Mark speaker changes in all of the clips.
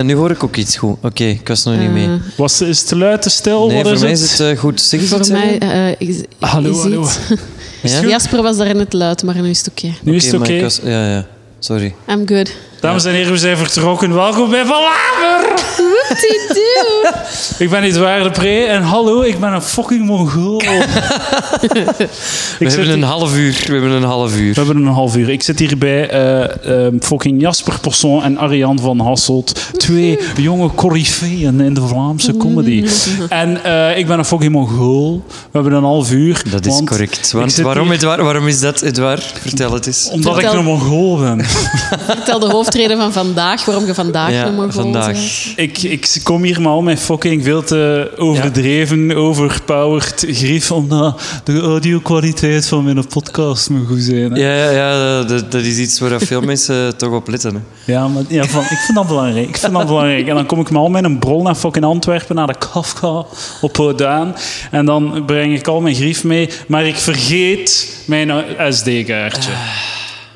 Speaker 1: En nu hoor ik ook iets goed. Oké, ik was nog niet mee.
Speaker 2: Eh,
Speaker 3: Was, is het te luid, te stil?
Speaker 1: Nee,
Speaker 3: Oh, Wat
Speaker 1: voor
Speaker 3: is
Speaker 1: mij
Speaker 3: het?
Speaker 1: is het eh, goed. Zeg eens
Speaker 2: voor
Speaker 1: iets,
Speaker 2: mij
Speaker 1: Ellie.
Speaker 2: eh, is,
Speaker 3: Hallo,
Speaker 2: is
Speaker 3: hallo.
Speaker 2: iets-
Speaker 1: Ja?
Speaker 2: Jasper was daarin het luid, maar nu is het oké.
Speaker 3: Nu is het
Speaker 1: maar
Speaker 3: oké.
Speaker 1: ik was- Ja, ja. Sorry.
Speaker 2: I'm good.
Speaker 3: Dames en heren, we zijn vertrokken. Welkom bij Valaver! Ik ben Edouard de Pre en hallo, ik ben een fucking Mongool. we,
Speaker 1: We hebben een half uur. We hebben een half uur.
Speaker 3: we hebben een half uur. Ik zit hier bij eh, eh, fucking Jasper Persson en Arjan van Hasselt. Twee jonge coryfeeën in de Vlaamse comedy. En eh, ik ben een fucking Mongool. We hebben een half uur.
Speaker 1: Dat is
Speaker 3: want
Speaker 1: correct.
Speaker 3: ik
Speaker 1: Want
Speaker 3: zit
Speaker 1: waarom,
Speaker 3: hier
Speaker 1: Edouard, waarom is dat, Edouard? Vertel het eens.
Speaker 3: Omdat ik
Speaker 2: Vertel.
Speaker 3: een Mongool ben.
Speaker 2: Vertel de hoofdreden van vandaag, waarom je vandaag
Speaker 1: ja,
Speaker 2: nog maar gewoon
Speaker 1: vandaag.
Speaker 2: bent.
Speaker 3: Ik, ik kom hier maar al mijn fucking veel te overdreven, overpowered grief, omdat de audio-kwaliteit van mijn podcast moet goed zijn. hè.
Speaker 1: Ja, ja, ja dat, dat is iets waar veel mensen toch op letten. Hè.
Speaker 3: Ja, maar, ja van, ik vind dat belangrijk. Ik vind dat belangrijk. En dan kom ik met al mijn brol naar fucking Antwerpen, naar de Kafka op Houdaan. En dan breng ik al mijn grief mee, maar ik vergeet mijn SD-kaartje.
Speaker 1: Ah.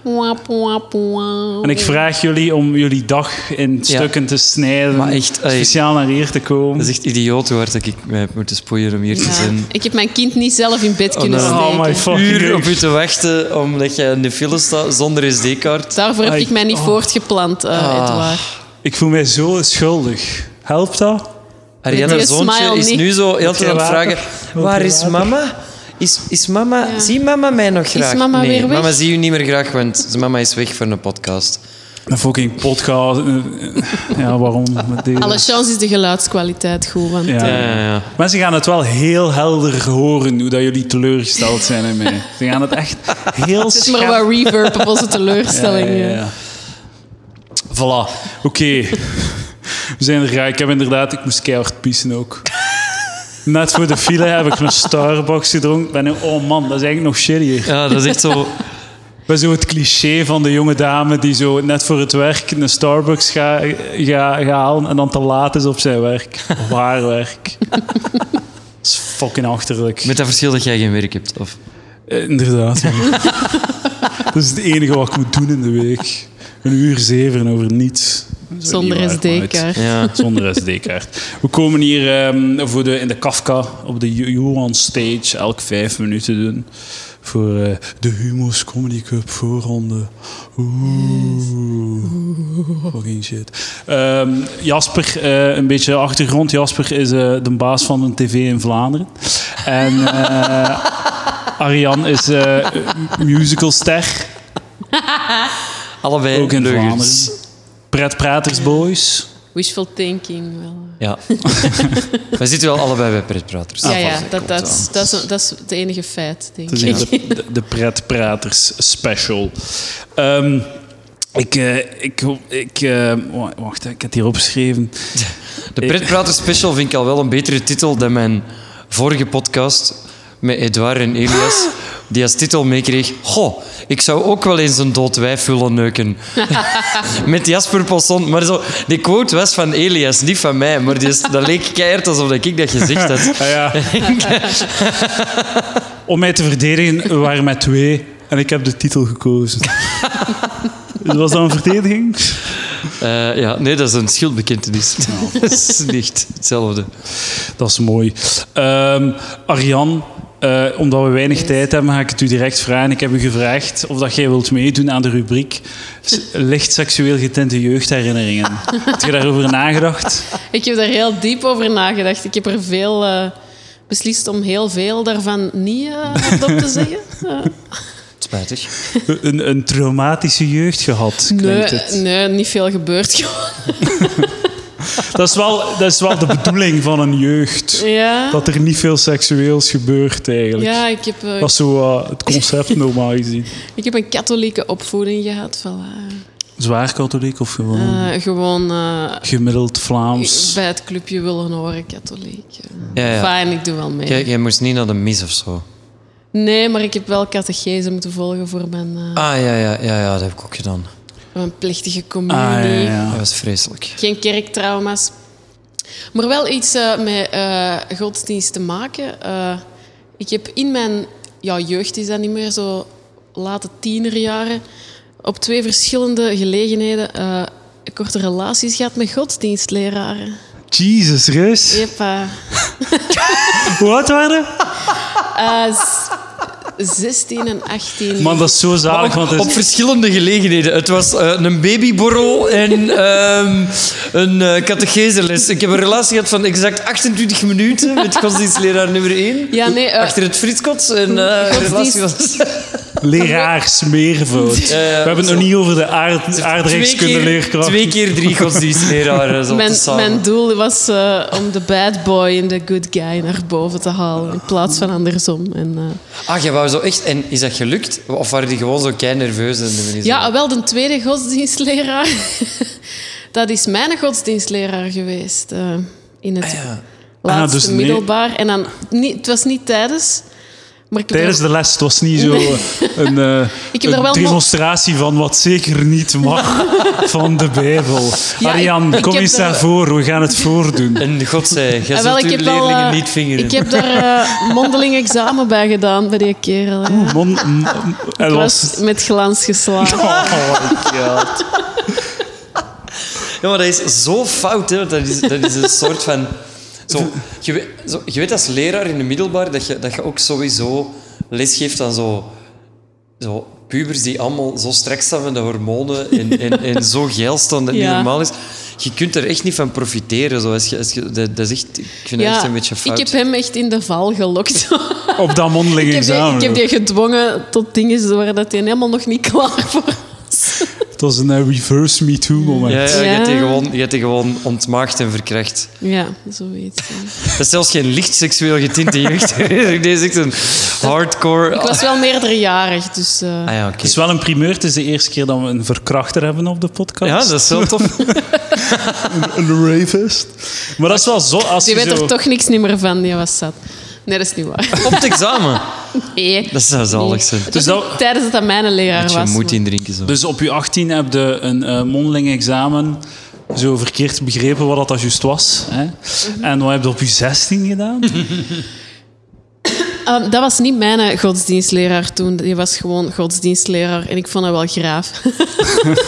Speaker 2: Wap, wap, wap.
Speaker 3: En ik vraag jullie om jullie dag in stukken te snijden,
Speaker 1: Maar echt, ey. Dus
Speaker 3: speciaal naar hier te komen.
Speaker 1: Dat is echt idioot hoe hard dat ik mij heb moeten spoeien om hier te
Speaker 2: Ja.
Speaker 1: zijn.
Speaker 2: Ik heb mijn kind niet zelf in bed kunnen
Speaker 1: nee.
Speaker 2: steken.
Speaker 3: Oh my fucking
Speaker 1: Uur op
Speaker 3: God.
Speaker 1: u te wachten omdat je in de file staat zonder SD-kaart.
Speaker 2: Daarvoor heb
Speaker 3: Ai, Oh.
Speaker 2: ik mij niet voortgeplant, eh
Speaker 1: Ah.
Speaker 2: Edouard.
Speaker 3: Ik voel mij zo schuldig. Helpt dat?
Speaker 1: Ariana
Speaker 2: Met die
Speaker 1: zoontje
Speaker 2: smile
Speaker 1: is
Speaker 2: niet.
Speaker 1: nu zo heel de tijd aan het
Speaker 3: Wil
Speaker 1: vragen:
Speaker 3: je water?
Speaker 1: waar
Speaker 3: Wil je
Speaker 1: is
Speaker 3: water?
Speaker 1: mama? Is, is mama
Speaker 2: Ja.
Speaker 1: Zie mama mij nog graag?
Speaker 2: mama
Speaker 1: nee,
Speaker 2: weer weg?
Speaker 1: mama zie u niet meer graag, want mama is weg voor een podcast.
Speaker 3: Een fucking podcast. eh, Ja, waarom? Met deze?
Speaker 2: Alle chance is de geluidskwaliteit goed, want
Speaker 3: Ja.
Speaker 1: Ja, ja, ja.
Speaker 3: Mensen gaan het wel heel helder horen hoe dat jullie teleurgesteld zijn in mij. Ze gaan het echt heel
Speaker 2: het is maar
Speaker 3: scherp...
Speaker 2: wat reverb op onze teleurstelling.
Speaker 3: Ja, ja,
Speaker 2: eh.
Speaker 3: ja. Voilà. Oké. We zijn er graag. Ik heb inderdaad... Ik moest keihard pissen ook. Net voor de file heb ik een Starbucks gedronken. Ik Ben nu, oh man, dat is eigenlijk nog shittier.
Speaker 1: Ja, dat is echt zo.
Speaker 3: Maar zo het cliché van de jonge dame die zo net voor het werk een Starbucks gaat ga, ga halen en dan te laat is op zijn werk. Of haar werk. Dat is fucking achterlijk.
Speaker 1: Met dat verschil dat jij geen werk hebt. Of...
Speaker 3: Eh, inderdaad. ja. dat is het enige wat ik moet doen in de week. Een uur zeven over niets. Dat is ook niet
Speaker 2: Zonder
Speaker 3: waar, maar het-
Speaker 2: SD-kaart.
Speaker 1: Ja.
Speaker 3: zonder SD-kaart. We komen hier ehm, voor de, in de Kafka op de Jo- Johan Stage elk vijf minuten doen. Voor eh, de Humo's Comedy Cup voorronde. Oeh. Fucking shit. Ehm, Jasper, eh, een beetje achtergrond. Jasper is eh, de baas van een tv in Vlaanderen. En eh, Arjan is eh musicalster.
Speaker 1: Allebei
Speaker 3: Ook in
Speaker 1: leugens.
Speaker 3: Vlaanderen. Pretpratersboys.
Speaker 2: Wishful thinking. Wel.
Speaker 1: Ja. We zitten wel allebei bij pretpraters.
Speaker 3: Ah,
Speaker 2: ja, ja,
Speaker 1: voilà,
Speaker 2: dat,
Speaker 1: komt
Speaker 2: dat,
Speaker 1: wel.
Speaker 2: is- dat, is, dat is het enige feit, denk
Speaker 3: Het
Speaker 2: ik.
Speaker 3: is echt de, de, de pretpraters special. Ehm, ik, eh, ik, ik eh, wa- wacht, hè, ik heb het hier opgeschreven.
Speaker 1: De pretpraters special vind ik al wel een betere titel dan mijn vorige podcast met Edouard en Elias. Die als titel meekreeg, goh, ik zou ook wel eens een dood wijf willen neuken. Met Jasper Poisson. Maar zo, die quote was van Elias, niet van mij. Maar die, is- dat leek keihard alsof ik dat gezegd had.
Speaker 3: Ah, ja. Om mij te verdedigen, we waren met twee en ik heb de titel gekozen. Dus Was dat een verdediging?
Speaker 1: Eh, ja, nee, dat is een schuldbekentenis. dat is niet hetzelfde.
Speaker 3: Dat is mooi. Ehm, Arjan, eh, omdat we weinig tijd hebben, ga ik het u direct vragen. Ik heb u gevraagd of dat jij wilt meedoen aan de rubriek s- licht seksueel getinte jeugdherinneringen. Heb je daarover nagedacht?
Speaker 2: Ik heb daar heel diep over nagedacht. Ik heb er veel eh, beslist om heel veel daarvan niet eh, hardop te zeggen. Eh,
Speaker 1: Spijtig.
Speaker 3: een, een traumatische jeugd gehad, klinkt het.
Speaker 2: nee, nee, niet veel gebeurt gewoon.
Speaker 3: Dat, is wel, dat is wel de bedoeling van een jeugd.
Speaker 2: Ja,
Speaker 3: Dat er niet veel seksueels gebeurt eigenlijk.
Speaker 2: ja ik, heb, eh,
Speaker 3: Dat is zo eh, het concept normaal gezien.
Speaker 2: ik heb een katholieke opvoeding gehad. voilà.
Speaker 3: Zwaar katholiek of gewoon
Speaker 2: Eh, gewoon eh,
Speaker 3: gemiddeld Vlaams?
Speaker 2: bij het clubje willen horen, katholiek. eh.
Speaker 1: Ja, ja.
Speaker 2: Fijn, ik doe wel mee.
Speaker 1: Jij, jij moest niet naar de mis of zo.
Speaker 2: Nee, maar ik heb wel catechese moeten volgen voor mijn, eh,
Speaker 1: Ah, ja, ja, ja, ja dat heb ik ook gedaan.
Speaker 2: voor mijn plichtige
Speaker 3: Ah,
Speaker 2: communie.
Speaker 3: ja, ja.
Speaker 1: Dat was vreselijk.
Speaker 2: Geen kerktrauma's. Maar wel iets eh, met eh, godsdienst te maken. Eh, ik heb in mijn ja, jeugd, is dat niet meer zo late tienerjaren, op twee verschillende gelegenheden eh, korte relaties gehad met godsdienstleraren.
Speaker 4: Jesus, reus.
Speaker 2: Jeppa.
Speaker 4: Hoe oud waren we?
Speaker 2: Eh, z- 16 en 18.
Speaker 3: Man, dat is zo zalig, want het
Speaker 1: Op
Speaker 3: is...
Speaker 1: verschillende gelegenheden. Het was eh, een babyborrel en ehm, een eh catecheseles. Ik heb een relatie gehad van exact 28 minuten met godsdienstleraar nummer 1.
Speaker 2: Ja, nee, eh,
Speaker 1: achter het frietskots. En eh
Speaker 2: Godsdienst-
Speaker 1: relatie was
Speaker 3: Leraar smeervoud.
Speaker 1: Ja, ja,
Speaker 3: We hebben het nog niet over de aard, aardrijkskunde
Speaker 1: keer,
Speaker 3: leerkracht.
Speaker 1: twee keer drie eh, godsdienstleraren. zo
Speaker 2: Mijn,
Speaker 1: tezamen.
Speaker 2: mijn doel was eh, om de bad boy en de good guy naar boven te halen. In plaats van andersom. En, eh,
Speaker 1: Ah, je wou zo echt... En is dat gelukt? Of waren die gewoon zo kei nerveus? En hebben die zo-
Speaker 2: Ja, wel de tweede godsdienstleraar. dat is mijn godsdienstleraar geweest eh, in het laatste
Speaker 3: Ah, dus nee.
Speaker 2: middelbaar. En dan, niet, het was niet tijdens, maar ik heb
Speaker 3: Tijdens
Speaker 2: er-
Speaker 3: de les, het was niet zo een, eh,
Speaker 2: Ik heb
Speaker 3: een
Speaker 2: er wel nog-
Speaker 3: demonstratie van wat zeker niet mag van de Bijbel.
Speaker 2: Ja, ik-
Speaker 3: Ariane,
Speaker 2: ik
Speaker 3: kom
Speaker 2: heb
Speaker 3: eens
Speaker 2: er-
Speaker 3: daarvoor, we gaan het voordoen.
Speaker 1: En God zei, jij
Speaker 2: Ah,
Speaker 1: zult
Speaker 2: ik
Speaker 1: uw
Speaker 2: heb wel,
Speaker 1: leerlingen
Speaker 2: eh,
Speaker 1: niet vingeren.
Speaker 2: Ik heb daar eh, mondeling examen bij gedaan, bij die kerel. ja.
Speaker 3: Mon, m- en
Speaker 2: Ik
Speaker 3: was...
Speaker 2: was met glans geslagen.
Speaker 3: Oh,
Speaker 1: Ja, maar dat is zo fout, hè? want Dat is, dat is een soort van. Zo, je, weet, zo, je weet als leraar in de middelbaar dat je, dat je ook sowieso les geeft aan zo, zo pubers die allemaal zo strak staan met de hormonen en, en, en zo geil staan dat het
Speaker 2: Ja.
Speaker 1: niet normaal is. Je kunt er echt niet van profiteren. Zo, als je, als je, dat, dat is echt, ik vind dat echt een beetje
Speaker 2: ik
Speaker 1: fout.
Speaker 2: heb hem echt in de val gelokt.
Speaker 3: op dat mondeling
Speaker 2: ik, heb die,
Speaker 3: examen.
Speaker 2: ik heb die gedwongen tot dingen waar dat hij helemaal nog niet klaar voor was.
Speaker 3: Het was een eh, reverse me too moment.
Speaker 1: ja, ja, Je,
Speaker 2: Ja.
Speaker 1: hebt die gewoon, je hebt die gewoon ontmaagd en verkracht.
Speaker 2: Ja, zoiets. ja.
Speaker 1: Dat is zelfs geen licht seksueel getinte jeugd. Deze is echt een hardcore...
Speaker 2: Ik was wel meerderjarig, dus... eh,
Speaker 1: Ah ja, oké.
Speaker 3: Het is wel een primeur. Het is de eerste keer dat we een verkrachter hebben op de podcast.
Speaker 1: Ja, dat is wel tof.
Speaker 3: Een ravist. Maar dat is wel zo... Als
Speaker 2: Die
Speaker 3: je
Speaker 2: weet
Speaker 3: zo...
Speaker 2: er toch niks niet meer van, die was zat. Nee, dat is niet waar.
Speaker 1: Op het examen.
Speaker 2: Nee.
Speaker 1: Dat zou zalig zijn.
Speaker 2: Dat
Speaker 3: Dus
Speaker 2: is
Speaker 3: dat-
Speaker 2: niet tijdens dat dat mijn leraar
Speaker 1: Dat je
Speaker 2: was.
Speaker 1: moet indrinken zo.
Speaker 3: Dus op je 18 heb je een eh, mondeling examen zo verkeerd begrepen wat dat dat juist was. Hè?
Speaker 2: Mhm.
Speaker 3: En wat heb je op je 16 gedaan? Nou,
Speaker 2: Ehm, dat was niet mijn godsdienstleraar toen. Die was gewoon godsdienstleraar. En ik vond dat wel graaf.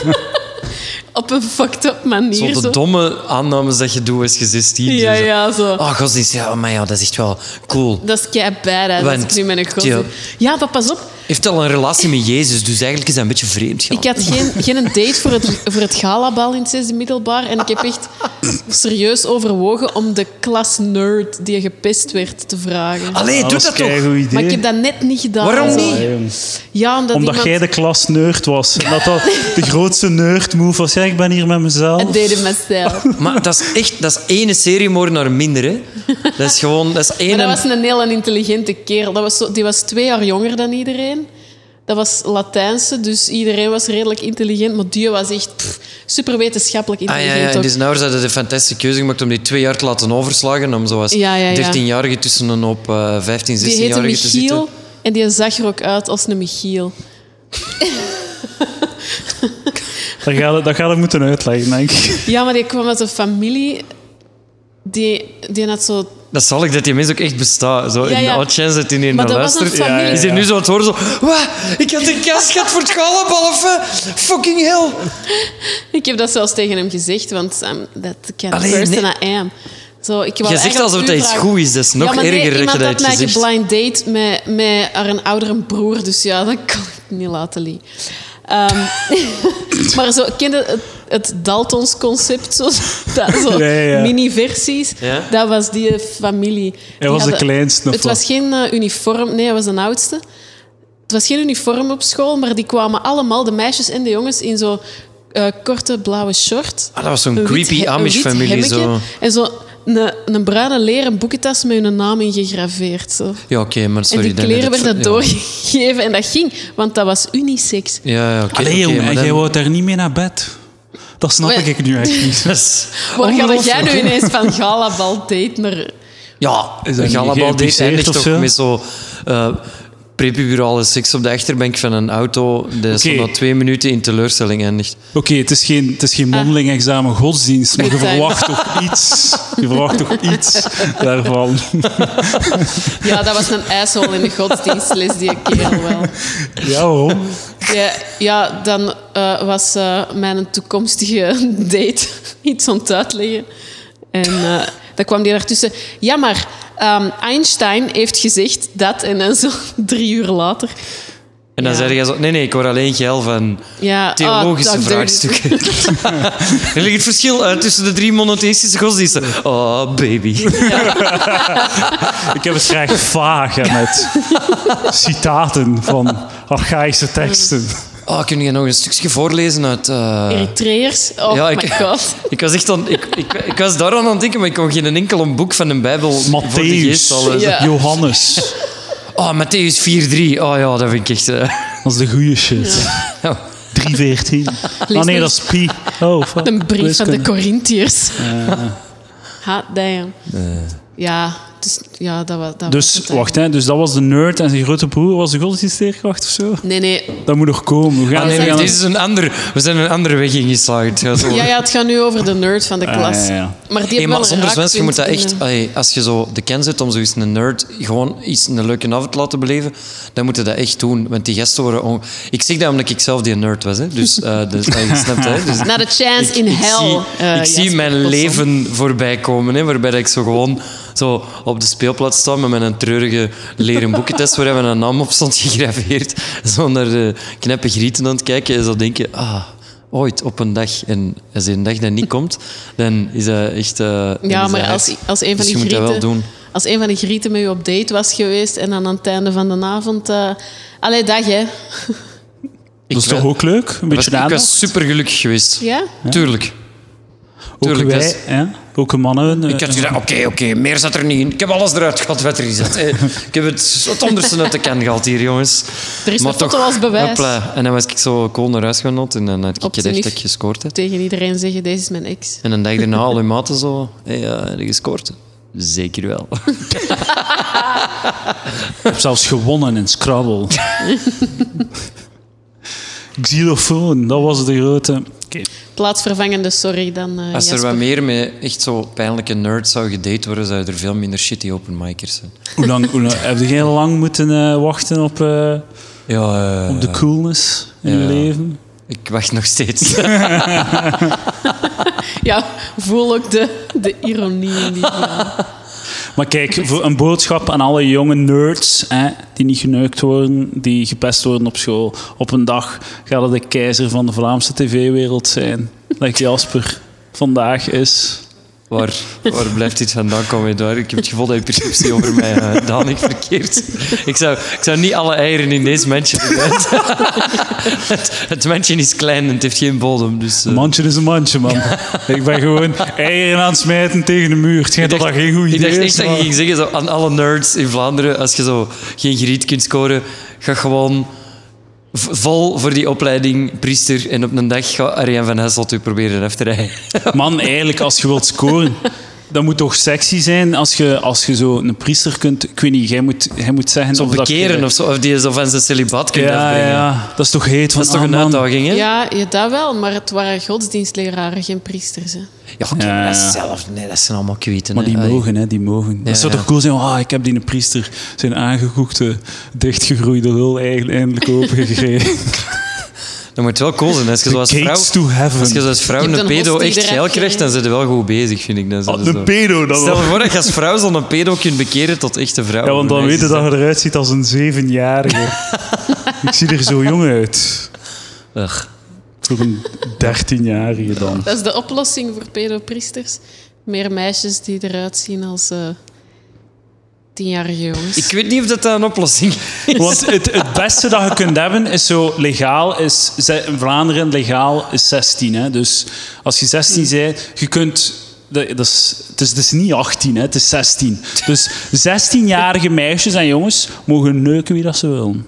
Speaker 2: Op een fucked up
Speaker 1: Zo
Speaker 2: manier.
Speaker 1: de
Speaker 2: Zo
Speaker 1: domme aannames dat je doet als je 16 bent.
Speaker 2: ja, ja, zo.
Speaker 1: Oh, godsdienst. Ja, maar ja, dat is echt wel cool.
Speaker 2: Dat is kei badass als
Speaker 1: Want-
Speaker 2: ik nu met een godsdienst... Ja, maar pas op.
Speaker 1: Heeft al een relatie met Jezus, dus eigenlijk is dat een beetje vreemd. Ja.
Speaker 2: Ik had geen, geen date voor het, voor het galabal in het zesde middelbaar. En ik heb echt serieus overwogen om de klas nerd die gepest werd te vragen.
Speaker 1: Allee, doe dat toch.
Speaker 3: Goed idee.
Speaker 2: Maar ik heb dat net niet gedaan.
Speaker 1: Waarom
Speaker 2: Zo.
Speaker 1: niet?
Speaker 2: Ja, omdat,
Speaker 3: Omdat jij
Speaker 2: iemand...
Speaker 3: de klas nerd was. En dat dat de grootste nerd move was. Ja, ik ben hier met mezelf.
Speaker 2: Het deden met stijl. Maar
Speaker 1: Maar dat is echt... Dat is ene seriemoordenaar minder, hè. Dat is gewoon... Dat is één...
Speaker 2: dat was een heel intelligente kerel. Dat was zo, die was twee jaar jonger dan iedereen. Dat was Latijnse, dus iedereen was redelijk intelligent. Maar die was echt pff, super wetenschappelijk
Speaker 1: Ah ja,
Speaker 2: intelligent.
Speaker 1: ja.
Speaker 2: ook.
Speaker 1: En dus nou hadden ze de fantastische keuze gemaakt om die twee jaar te laten overslagen. Om zoals
Speaker 2: Ja, ja, ja.
Speaker 1: 13-jarige tussen een op eh 15,
Speaker 2: die heette
Speaker 1: 16-jarige te zitten.
Speaker 2: Michiel en die zag er ook uit als een Michiel.
Speaker 3: Dat ga je, dat ga je moeten uitleggen, denk ik.
Speaker 2: Ja, maar die kwam uit een familie die, die had zo...
Speaker 1: Dat zal ik, dat die mens ook echt bestaat. Zo,
Speaker 2: Ja,
Speaker 1: In de
Speaker 2: ja.
Speaker 1: odd chance dat hij hier
Speaker 2: Maar
Speaker 1: naar
Speaker 2: dat was een
Speaker 1: luistert.
Speaker 2: familie...
Speaker 3: Ja, ja,
Speaker 1: Is hij nu zo aan het horen zo... Wat? Ik had een kast gehad voor het galabal of... eh, Fucking hell.
Speaker 2: Ik heb dat zelfs tegen hem gezegd, want um, that kind of
Speaker 1: Allee,
Speaker 2: person
Speaker 1: nee.
Speaker 2: I am. Zo, ik wou
Speaker 1: Je zegt
Speaker 2: eigenlijk
Speaker 1: alsof
Speaker 2: u
Speaker 1: dat iets
Speaker 2: vragen-
Speaker 1: goed is. Dat is nog
Speaker 2: ja, maar nee,
Speaker 1: erger dat je dat
Speaker 2: iemand
Speaker 1: hebt
Speaker 2: had mij
Speaker 1: gezegd.
Speaker 2: geblind date met, met haar een oudere broer, dus ja, dat kon ik niet laten liggen. Ehm, maar zo, kende het, het Daltons-concept, zo, dat, zo
Speaker 3: Ja, ja, ja.
Speaker 2: mini-versies,
Speaker 1: Ja?
Speaker 2: dat was die familie. Die
Speaker 3: was de
Speaker 2: hadden-
Speaker 3: kleinste, of
Speaker 2: Het
Speaker 3: wat?
Speaker 2: was geen eh, uniform, nee, hij was de oudste. Het was geen uniform op school, maar die kwamen allemaal, de meisjes en de jongens, in zo eh, korte blauwe short.
Speaker 1: Ah, dat was zo'n
Speaker 2: Een wit
Speaker 1: creepy
Speaker 2: he- een wit
Speaker 1: Amish-familie.
Speaker 2: hemmetje
Speaker 1: Zo.
Speaker 2: En zo een, een bruine leren boekentas met hun naam ingegraveerd. Zo.
Speaker 1: Ja, oké, maar sorry.
Speaker 2: en die
Speaker 1: dan
Speaker 2: kleren
Speaker 1: heb ik-
Speaker 2: werden
Speaker 1: ja.
Speaker 2: doorgegeven en dat ging, want dat was unisex.
Speaker 1: Ja, ja, oké.
Speaker 3: Allee,
Speaker 1: oké,
Speaker 3: jongen,
Speaker 1: maar
Speaker 3: en
Speaker 1: dan-
Speaker 3: jij wou daar niet mee naar bed. Dat snap
Speaker 2: Maar-
Speaker 3: ik nu echt niet.
Speaker 1: Dat is-
Speaker 2: Waar ga jij
Speaker 1: Ongelooflijk.
Speaker 2: nu ineens van galabal date naar...
Speaker 1: Ja,
Speaker 3: dat
Speaker 1: een
Speaker 3: niet
Speaker 1: galabal date
Speaker 3: geïmpliceerd
Speaker 1: eindigt
Speaker 3: of
Speaker 1: toch
Speaker 3: zo?
Speaker 1: met zo... eh, prepuberale seks op de achterbank van een auto. Dat is
Speaker 3: Oké.
Speaker 1: nog twee minuten in teleurstelling eindigt.
Speaker 3: Oké, het is geen, het is
Speaker 2: Ah.
Speaker 3: geen mondeling examen godsdienst, maar je
Speaker 2: Bedtime.
Speaker 3: verwacht toch iets. Je verwacht toch iets daarvan.
Speaker 2: Ja, dat was een ijshol in de godsdienstles, die kerel wel.
Speaker 3: Ja, waarom?
Speaker 2: Ja, ja dan eh, was eh, mijn toekomstige date iets aan het uitleggen. En eh dan kwam die daartussen. Ja, maar ehm, Einstein heeft gezegd dat. En dan zo drie uur later.
Speaker 1: En dan
Speaker 2: Ja.
Speaker 1: zei je zo... Nee, nee, ik hoor alleen geil van
Speaker 2: Ja, ah,
Speaker 1: theologische
Speaker 2: dat-
Speaker 1: vraagstukken. er ligt het verschil uit tussen de drie monotheïstische godsdiensten. Oh, baby.
Speaker 3: Ik heb het graag vaag hè, met citaten van archaïsche teksten.
Speaker 1: Oh, kun je nog een stukje voorlezen uit... eh,
Speaker 2: Eritreërs. Oh
Speaker 1: Ja, ik-
Speaker 2: my god.
Speaker 1: Ik was, echt aan, ik, ik, ik was daar aan aan het denken, maar ik kon geen enkel een boek van een Bijbel voor de
Speaker 3: Matthäus,
Speaker 1: geest eh, halen.
Speaker 2: Ja.
Speaker 3: Johannes.
Speaker 1: Oh, Matthäus 4,3. Oh ja, dat vind ik echt... eh,
Speaker 3: Dat is de goede shit.
Speaker 1: Ja.
Speaker 3: 314. Ah nee, dat is Pi. Oh, fuck.
Speaker 2: Een brief van de
Speaker 3: Wiskunde.
Speaker 2: Corinthiërs. Ha, damn.
Speaker 3: Eh.
Speaker 2: Ja, dus, ja, dat was... Dat was
Speaker 3: Dus,
Speaker 2: het eigenlijk.
Speaker 3: wacht, hè, dus dat was de nerd en zijn grote broer was de godsdienstleerkracht of zo?
Speaker 2: Nee, nee.
Speaker 3: Dat moet nog komen. We gaan,
Speaker 1: Ah, nee,
Speaker 3: we
Speaker 1: nee,
Speaker 3: gaan
Speaker 1: dit is een ander... We zijn een andere weg ingeslaagd. Ja, zo.
Speaker 2: Ja, ja, het gaat nu over de nerd van de klas.
Speaker 3: Ah, ja, ja.
Speaker 2: Maar
Speaker 1: Hey,
Speaker 2: die hebben wel
Speaker 1: maar
Speaker 2: een
Speaker 1: zonder zwens, je moet dat
Speaker 2: raakpunt
Speaker 1: echt...
Speaker 2: in, eh,
Speaker 1: allee, als je zo de kans hebt om zoiets een nerd gewoon iets een leuke avond te laten beleven, dan moet je dat echt doen. Want die gasten worden... on- Ik zeg dat omdat ik zelf die nerd was. Hè. Dus, eh dus eh, je snapt hè. Dus,
Speaker 2: Not a chance in
Speaker 1: ik
Speaker 2: hell.
Speaker 1: Zie,
Speaker 2: eh,
Speaker 1: ik zie
Speaker 2: Jasper
Speaker 1: mijn
Speaker 2: Possen.
Speaker 1: leven voorbij komen, hè, waarbij dat ik zo gewoon zo op de speelplaats sta met mijn treurige leren boekentest waar mijn naam op stond gegraveerd. Zo naar de knappe grieten aan het kijken en zo denken, ah, ooit op een dag. En als die een dag dat niet komt, dan is dat echt... eh, dan
Speaker 2: Ja,
Speaker 1: is
Speaker 2: maar
Speaker 1: dat
Speaker 2: als,
Speaker 1: hard.
Speaker 2: als een van
Speaker 1: Dus
Speaker 2: die
Speaker 1: je moet dat wel
Speaker 2: grieten...
Speaker 1: doen.
Speaker 2: Als een van die grieten met je op date was geweest en dan aan het einde van de avond... eh allee, dag hè.
Speaker 1: Ik
Speaker 3: dat is toch
Speaker 1: wa-
Speaker 3: ook leuk?
Speaker 1: was,
Speaker 3: Een beetje
Speaker 1: ik
Speaker 3: aandacht.
Speaker 1: was super gelukkig geweest.
Speaker 2: Ja?
Speaker 1: Tuurlijk.
Speaker 3: ook
Speaker 1: tuurlijk,
Speaker 3: wij,
Speaker 1: dat is-
Speaker 3: hè? ook de mannen. eh,
Speaker 1: Ik had gedacht, oké, oké, meer zat er niet in. Ik heb alles eruit gehad wat erin zat. Eh, Ik heb het het onderste uit de kan gehaald hier, jongens.
Speaker 2: Er is een foto als bewijs.
Speaker 1: hopla. En dan was ik zo cool naar huis genot en dan had ik
Speaker 2: Op
Speaker 1: gedacht
Speaker 2: zich.
Speaker 1: dat ik gescoord had.
Speaker 2: Tegen iedereen zeggen, deze is mijn ex.
Speaker 1: En een dag daarna al in maten zo, hé, hey, eh, heb je gescoord? Zeker wel.
Speaker 3: Ik heb zelfs gewonnen in Scrabble. Xylofoon, dat was de grote.
Speaker 2: Plaatsvervangende, sorry, dan eh,
Speaker 1: Als er
Speaker 2: Jasper.
Speaker 1: wat meer met echt zo pijnlijke nerds zou gedate worden, zouden er veel minder shitty open micers zijn.
Speaker 3: Hoe lang, hoe lang, heb je heel lang moeten eh, wachten op, eh,
Speaker 1: Ja, eh,
Speaker 3: op de coolness in je
Speaker 1: ja.
Speaker 3: leven?
Speaker 1: ik wacht nog steeds.
Speaker 2: Ja, voel ook de, de ironie in die vraag.
Speaker 3: Maar kijk, voor een boodschap aan alle jonge nerds hè, die niet geneukt worden, die gepest worden op school. Op een dag gaat het de keizer van de Vlaamse tv-wereld zijn. Dat Jasper vandaag is.
Speaker 1: Waar, waar blijft dit vandaan komen, Edouard? Ik heb het gevoel dat je perceptie over mij eh danig verkeerd. Ik zou, ik zou niet alle eieren in deze mandje doen. het, het mandje is klein en het heeft geen bodem. Dus, eh,
Speaker 3: Een mandje is een mandje, man. ik ben gewoon eieren aan het smijten tegen de muur. Het schijnt dat dat geen goed
Speaker 1: ik
Speaker 3: idee
Speaker 1: dacht
Speaker 3: is.
Speaker 1: echt dat
Speaker 3: maar-
Speaker 1: je ging zeggen zo, aan alle nerds in Vlaanderen, als je zo geen griet kunt scoren, ga gewoon v- vol voor die opleiding priester en op een dag ga Arjen van Hasselt u proberen af te rijden.
Speaker 3: Man, eigenlijk, als je wilt scoren, dat moet toch sexy zijn als je, als je zo een priester kunt... Ik weet niet, jij moet, jij moet zeggen...
Speaker 1: Zo
Speaker 3: of dat je-
Speaker 1: bekeren of zo, of die zo van zijn celibaat kunt
Speaker 3: Ja,
Speaker 1: afbrengen.
Speaker 3: ja, dat is toch heet van...
Speaker 1: Dat is toch
Speaker 3: ah,
Speaker 1: een
Speaker 3: man.
Speaker 1: uitdaging, hè?
Speaker 2: Ja, ja, dat wel, maar het waren godsdienstleraren, geen priesters. Hè.
Speaker 1: Ja, oké,
Speaker 3: Ja,
Speaker 1: maar dat
Speaker 3: ja.
Speaker 1: is zelf. Nee, dat zijn allemaal kweten.
Speaker 3: Eh, Maar
Speaker 1: hè.
Speaker 3: die
Speaker 1: Allee.
Speaker 3: mogen, hè, die mogen. dat zou
Speaker 1: ja.
Speaker 3: toch cool zijn? Ah, ik heb die een priester zijn aangekoekte, dichtgegroeide lul eigenlijk eindelijk opengekregen.
Speaker 1: Dat moet wel cool zijn. Als je
Speaker 3: The
Speaker 1: zo als
Speaker 3: gates
Speaker 1: vrouw,
Speaker 3: to heaven.
Speaker 1: als je zo als vrouw
Speaker 2: Je hebt
Speaker 1: een
Speaker 2: een
Speaker 1: pedo
Speaker 2: host die
Speaker 1: echt
Speaker 2: eruit
Speaker 1: geil
Speaker 2: ging,
Speaker 1: krijgt,
Speaker 2: hè?
Speaker 1: dan zijn ze wel goed bezig, vind ik. Dan zijn ze
Speaker 3: Ah, de
Speaker 1: zo.
Speaker 3: pedo dan
Speaker 1: Stel
Speaker 3: wel.
Speaker 1: je voor dat je als vrouw zo'n pedo kunt bekeren tot echte vrouw.
Speaker 3: Ja, want dan
Speaker 1: Nee,
Speaker 3: weten
Speaker 1: ze
Speaker 3: dat je eruit ziet als een zevenjarige. ik zie er zo jong uit.
Speaker 1: zijn- Ugh.
Speaker 3: Voor een dertienjarige dan.
Speaker 2: Dat is de oplossing voor pedopriesters. Meer meisjes die eruit zien als eh, tienjarige jongens.
Speaker 1: Ik weet niet of dat een oplossing is.
Speaker 3: Want het, het beste dat je kunt hebben is zo legaal, is ze- in Vlaanderen legaal is 16. Hè? Dus als je 16 bent, je kunt. Dat dat is, het, is, het is niet 18, hè? het is 16. Dus 16-jarige meisjes en jongens mogen neuken wie dat ze willen.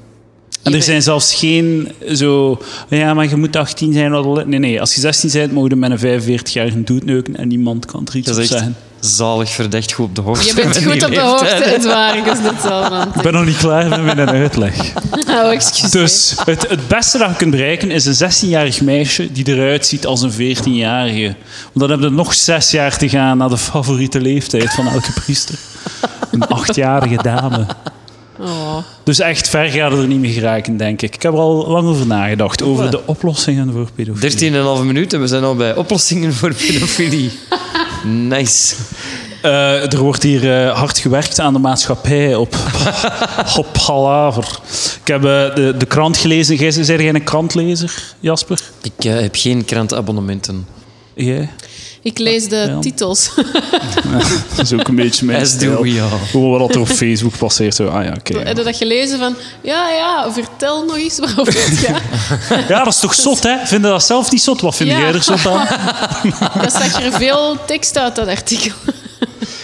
Speaker 3: En er zijn zelfs geen zo. Ja, maar je moet 18 zijn. wat wil het?" Nee, nee. Als je 16 bent, mogen je met een 45-jarige dude neuken en niemand kan er iets
Speaker 1: Dat
Speaker 3: op
Speaker 1: is echt
Speaker 3: zeggen.
Speaker 1: zalig verdacht goed op de hoogte.
Speaker 2: Je bent
Speaker 1: van
Speaker 2: goed
Speaker 1: die
Speaker 2: op de
Speaker 1: leeftijd.
Speaker 2: hoogte, het waar. Ik is net zo van.
Speaker 3: Ik ben nog niet klaar met mijn uitleg.
Speaker 2: Oh, excuus.
Speaker 3: Dus het, het beste dat je kunt bereiken is een 16-jarig meisje die eruit ziet als een 14-jarige. Want dan hebben we nog zes jaar te gaan naar de favoriete leeftijd van elke priester. Een achtjarige dame.
Speaker 2: Oh.
Speaker 3: Dus echt ver gaat het er niet meer geraken, denk ik. Ik heb er al lang over nagedacht, over
Speaker 1: Voilà.
Speaker 3: de oplossingen voor pedofilie.
Speaker 1: 13,5 minuten, we zijn al bij oplossingen voor pedofilie. Nice.
Speaker 3: Eh, er wordt hier eh, hard gewerkt aan de maatschappij op, op palaver. Ik heb eh, de, de krant gelezen. Jij zijn jij een krantlezer, Jasper?
Speaker 1: Ik eh, heb geen krantabonnementen.
Speaker 3: Jij?
Speaker 2: Ik lees de
Speaker 3: Ja.
Speaker 2: titels.
Speaker 3: Dat is ook een beetje mijn
Speaker 1: As do we all.
Speaker 3: Gewoon wat er op Facebook passeert. Zo. Ah ja, oké.
Speaker 2: Heb je dat gelezen van... Ja, ja, vertel nog eens waarover het gaat.
Speaker 3: Ja, dat is toch zot, hè? Vinden dat zelf niet zot? Wat vind
Speaker 2: Ja.
Speaker 3: jij er zot aan?
Speaker 2: Daar zag er veel tekst uit, dat artikel.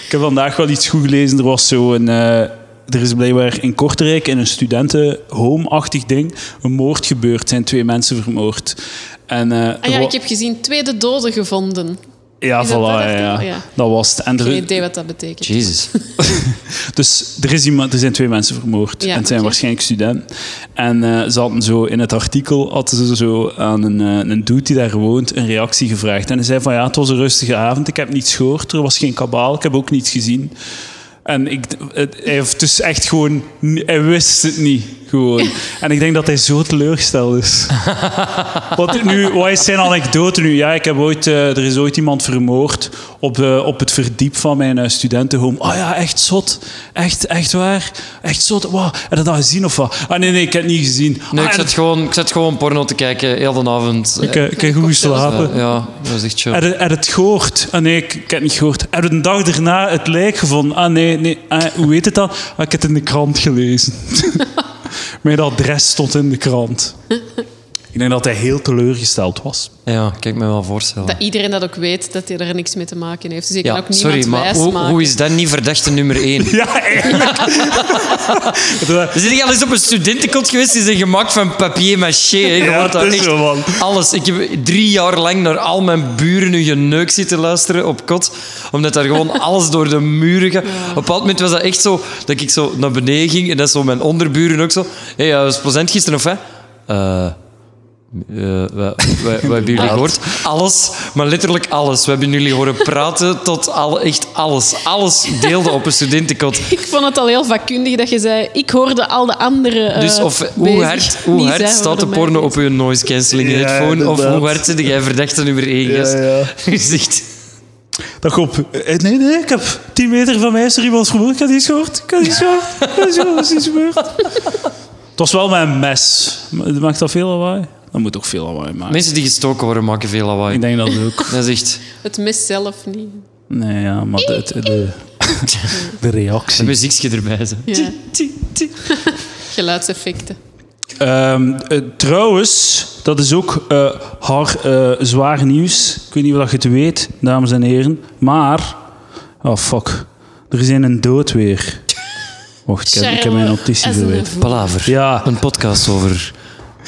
Speaker 3: Ik heb vandaag wel iets goed gelezen. Er was zo een... eh, er is blijkbaar in Kortrijk, in een studentenhome-achtig ding, een moord gebeurd. Er zijn twee mensen vermoord. En, eh, er
Speaker 2: Ah ja,
Speaker 3: wa-
Speaker 2: ik heb gezien tweede doden gevonden.
Speaker 3: Ja,
Speaker 2: Is dat
Speaker 3: voilà,
Speaker 2: dat
Speaker 3: ja,
Speaker 2: echt? oh
Speaker 3: ja.
Speaker 2: Ja.
Speaker 3: Dat was het. En er-
Speaker 2: Geen idee wat dat betekent.
Speaker 1: Jezus.
Speaker 3: dus er, is iemand, er zijn twee mensen vermoord.
Speaker 2: Ja,
Speaker 3: en het zijn
Speaker 2: oké.
Speaker 3: waarschijnlijk studenten. En eh, ze hadden zo in het artikel hadden ze zo aan een, eh, een dude die daar woont een reactie gevraagd. En hij zei van ja, het was een rustige avond. Ik heb niets gehoord. Er was geen kabaal. Ik heb ook niets gezien. En ik, het, hij heeft dus echt gewoon... Hij wist het niet. Gewoon. En ik denk dat hij zo teleurgesteld is. Wat, nu, wat is zijn anekdote nu? Ja, ik heb ooit, eh, er is ooit iemand vermoord op, eh, op het verdiep van mijn eh, studentenhome. Ah ja, echt zot. Echt, echt waar. Echt zot. Wow. Heb je dat gezien of wat? Ah nee, nee, ik heb het niet gezien.
Speaker 1: Nee,
Speaker 3: Ah,
Speaker 1: ik
Speaker 3: en-
Speaker 1: zat, gewoon, ik zat gewoon porno te kijken, heel de avond.
Speaker 3: ik, eh, ik heb goed geslapen.
Speaker 1: Eh, ja, dat is echt chill.
Speaker 3: Heb je heb je het gehoord? Ah nee, ik, ik heb het niet gehoord. Heb je een dag daarna het lijk gevonden? Ah nee, nee. Ah, hoe weet het dan? Ah, ik heb het in de krant gelezen. Mijn adres stond in de krant. Ik denk dat hij heel teleurgesteld was.
Speaker 1: Ja, ik kan ik me wel voorstellen.
Speaker 2: Dat iedereen dat ook weet, dat hij er niks mee te maken heeft. Dus ik kan
Speaker 1: ja,
Speaker 2: ook niemand
Speaker 1: sorry, maar
Speaker 2: wijs
Speaker 1: hoe,
Speaker 2: maken.
Speaker 1: hoe is dat niet verdachte nummer één?
Speaker 3: Ja, eigenlijk.
Speaker 1: Dus ik al eens op een studentenkot geweest, die zijn gemaakt van papier maché. hè. Je
Speaker 3: Ja,
Speaker 1: hoort
Speaker 3: het is
Speaker 1: echt
Speaker 3: zo, man.
Speaker 1: Alles. Ik heb drie jaar lang naar al mijn buren hun geneuk zitten luisteren op kot, omdat daar gewoon alles door de muren gaat. Op een bepaald moment was dat echt zo, dat ik zo naar beneden ging en dat zo mijn onderburen ook zo... Hé, hey, was plezant gisteren, of hè? Eh... eh, wat, wat, wat hebben jullie gehoord? Alles, maar letterlijk alles. We hebben jullie horen praten tot al, echt alles. Alles deelde op een studentenkot.
Speaker 2: Ik vond het al heel vakkundig dat je zei... Ik hoorde al de anderen eh,
Speaker 1: Dus of, hoe
Speaker 2: bezig.
Speaker 1: hard, hoe
Speaker 2: Niet
Speaker 1: hard
Speaker 2: zij
Speaker 1: staat de
Speaker 2: hoorden mij
Speaker 1: porno
Speaker 2: bezig.
Speaker 1: op je noise cancelling
Speaker 3: Ja,
Speaker 1: headphone? Of
Speaker 3: inderdaad.
Speaker 1: hoe hard zit jij verdachte nummer 1
Speaker 3: Ja,
Speaker 1: gast?
Speaker 3: ja.
Speaker 1: Je zegt,
Speaker 3: Dag op. Eh, Nee, nee, ik heb 10 meter van mij is er iemand vermoord. Ik had iets gehoord. Ik had iets gehoord. Ik had iets gehoord. Er is iets gebeurd. Het was wel mijn mes. Maar Maakt dat veel lawaai? Dat moet ook veel lawaai maken.
Speaker 1: mensen die gestoken worden maken veel lawaai.
Speaker 3: Ik denk dat ook.
Speaker 1: Dat is echt...
Speaker 2: Het mis zelf niet.
Speaker 3: Nee, ja, maar de, de, de, de
Speaker 1: Een
Speaker 3: reactie.
Speaker 1: muziekje erbij. Zo.
Speaker 2: Ja. Geluidseffecten.
Speaker 3: Ehm, eh, trouwens, dat is ook eh haar eh, zwaar nieuws. Ik weet niet of dat je het weet, dames en heren. Maar, oh fuck, er is een dood weer. Wacht, ik heb, ik heb mijn notitie
Speaker 2: Charles
Speaker 3: verwijderd.
Speaker 1: Palaver.
Speaker 3: Ja.
Speaker 1: Een podcast over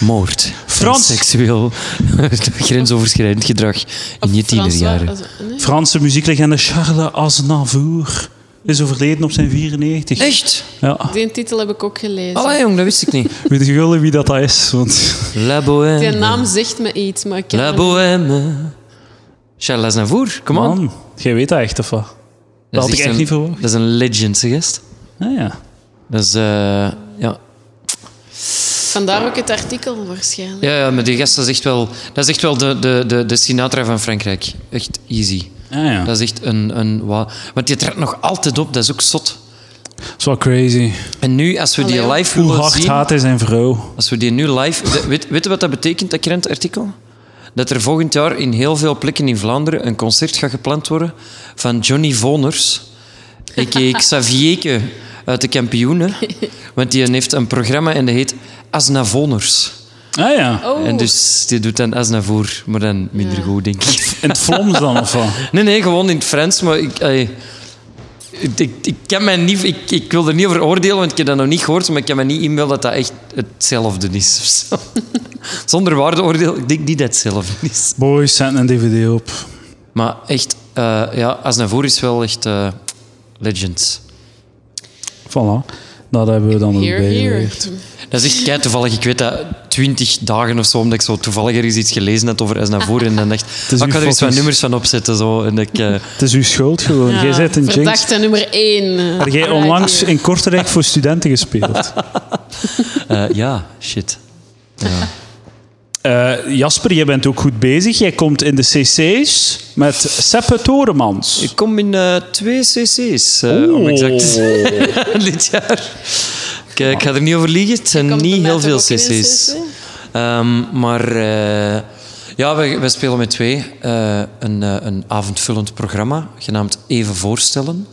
Speaker 1: moord.
Speaker 3: Frans.
Speaker 1: En seksueel grensoverschrijdend gedrag in je tienerjaren.
Speaker 3: Franse muzieklegende Charles Aznavour is overleden op zijn 94.
Speaker 1: Echt?
Speaker 3: Ja.
Speaker 2: Die titel heb ik ook gelezen.
Speaker 3: Oh,
Speaker 1: Allee jong, dat wist ik niet.
Speaker 3: Weet je wel wie dat is? Want
Speaker 1: La
Speaker 2: Die
Speaker 1: Bohème.
Speaker 2: naam zegt me iets, maar ik ken
Speaker 1: La
Speaker 2: hem niet.
Speaker 1: Bohème. Charles Aznavour, come on.
Speaker 3: man, jij weet dat echt of wat? Dat had
Speaker 1: is
Speaker 3: ik echt
Speaker 1: een-
Speaker 3: niet verwacht.
Speaker 1: Dat is een legend, zeg gast.
Speaker 3: Ah, ja.
Speaker 1: Dat is, eh, ja.
Speaker 2: Vandaar ook het artikel waarschijnlijk.
Speaker 1: Ja, ja, maar die gast dat is echt wel, dat is echt wel de, de, de, de Sinatra van Frankrijk. Echt easy.
Speaker 3: Ah, ja.
Speaker 1: Dat is echt een... een wa- Want die trekt nog altijd op, dat is ook zot.
Speaker 3: Dat is wel crazy.
Speaker 1: En nu, als we die
Speaker 2: Allee,
Speaker 1: live
Speaker 3: Hoe
Speaker 1: willen
Speaker 3: hard
Speaker 1: zien...
Speaker 3: haat hij zijn vrouw?
Speaker 1: Als we die nu live... de- weet, weet je wat dat betekent, dat krantartikel? Dat er volgend jaar in heel veel plekken in Vlaanderen een concert gaat gepland worden van Johnny Voners, a.k.a. Xavierke uit de kampioenen. Want die heeft een programma en dat heet Asnavoners.
Speaker 3: Ah ja.
Speaker 2: Oh,
Speaker 1: En dus die doet dan Asnavoer, maar dan minder goed, denk ik.
Speaker 3: In het Vlaams dan, of wat?
Speaker 1: Nee, nee, gewoon in het Frans, maar ik... ey, ik, ik, ik kan mij niet, ik, ik wil er niet over oordelen, want ik heb dat nog niet gehoord, maar ik kan me niet inbeelden dat dat echt hetzelfde is. of zo. Zonder waardeoordeel, ik denk niet dat het hetzelfde is.
Speaker 3: Boys, zet een dvd op.
Speaker 1: Maar echt eh ja, Aznavour is wel echt eh, legend.
Speaker 3: Voilà. Dat hebben we dan ook eh,
Speaker 2: Here, here.
Speaker 3: bijgeleerd.
Speaker 1: Dat is echt kei toevallig. Ik weet dat twintig dagen of zo, omdat ik zo toevallig ergens iets gelezen had over Aznavour. En dan dacht ik, ah,
Speaker 3: is uw
Speaker 1: ik ga er eens wat
Speaker 3: focus.
Speaker 1: nummers van opzetten. Zo. En ik, eh,
Speaker 3: Het is uw schuld gewoon.
Speaker 2: Ja,
Speaker 3: jij bent een jinx.
Speaker 2: Verdachte nummer één. eh,
Speaker 3: Heb jij
Speaker 2: Alright,
Speaker 3: onlangs
Speaker 2: hier.
Speaker 3: in Kortrijk voor studenten gespeeld?
Speaker 1: eh, ja, shit.
Speaker 3: Eh, Jasper, jij bent ook goed bezig. Jij komt in de cc's met Seppe Toremans.
Speaker 1: Ik kom in eh, twee cc's, eh, om exact te zijn, dit jaar. Kijk, ik ga er niet over liegen. Het zijn
Speaker 2: Komt bij
Speaker 1: niet
Speaker 2: mij
Speaker 1: heel
Speaker 2: toch
Speaker 1: veel
Speaker 2: ook in een
Speaker 1: cc's.
Speaker 2: CC?
Speaker 1: Ehm, maar eh, ja, wij, wij spelen met twee eh, een, eh, een avondvullend programma genaamd Even Voorstellen,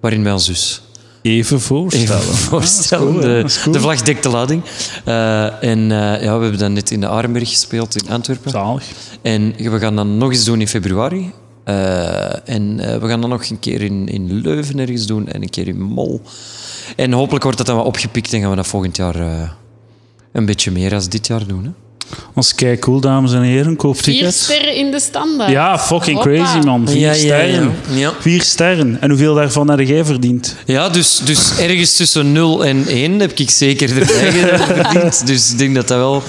Speaker 1: waarin wij ons dus
Speaker 3: Even voorstellen.
Speaker 1: even voorstellen.
Speaker 3: Ah, cool, hè?
Speaker 1: de,
Speaker 3: Dat is cool.
Speaker 1: de vlag dekt de lading. Eh, en eh, ja, we hebben dan net in de Arenberg gespeeld in Antwerpen.
Speaker 3: Zalig.
Speaker 1: En we gaan dan nog eens doen in februari. Eh, en eh, we gaan dan nog een keer in, in Leuven ergens doen en een keer in Mol. En hopelijk wordt dat dan wel opgepikt en gaan we dat volgend jaar eh, een beetje meer als dit jaar doen. Hè?
Speaker 3: Dat is kei cool, dames en heren. Koop
Speaker 2: Vier
Speaker 3: tickets.
Speaker 2: sterren in de standaard.
Speaker 3: Ja, fucking
Speaker 2: Hoppa.
Speaker 3: crazy, man. Vier
Speaker 1: Ja, ja, ja.
Speaker 3: sterren.
Speaker 1: Ja.
Speaker 3: Vier sterren. En hoeveel daarvan heb jij verdiend?
Speaker 1: Ja, dus, dus ergens tussen 0 en 1 heb ik zeker erbij verdiend. Dus ik denk dat dat wel...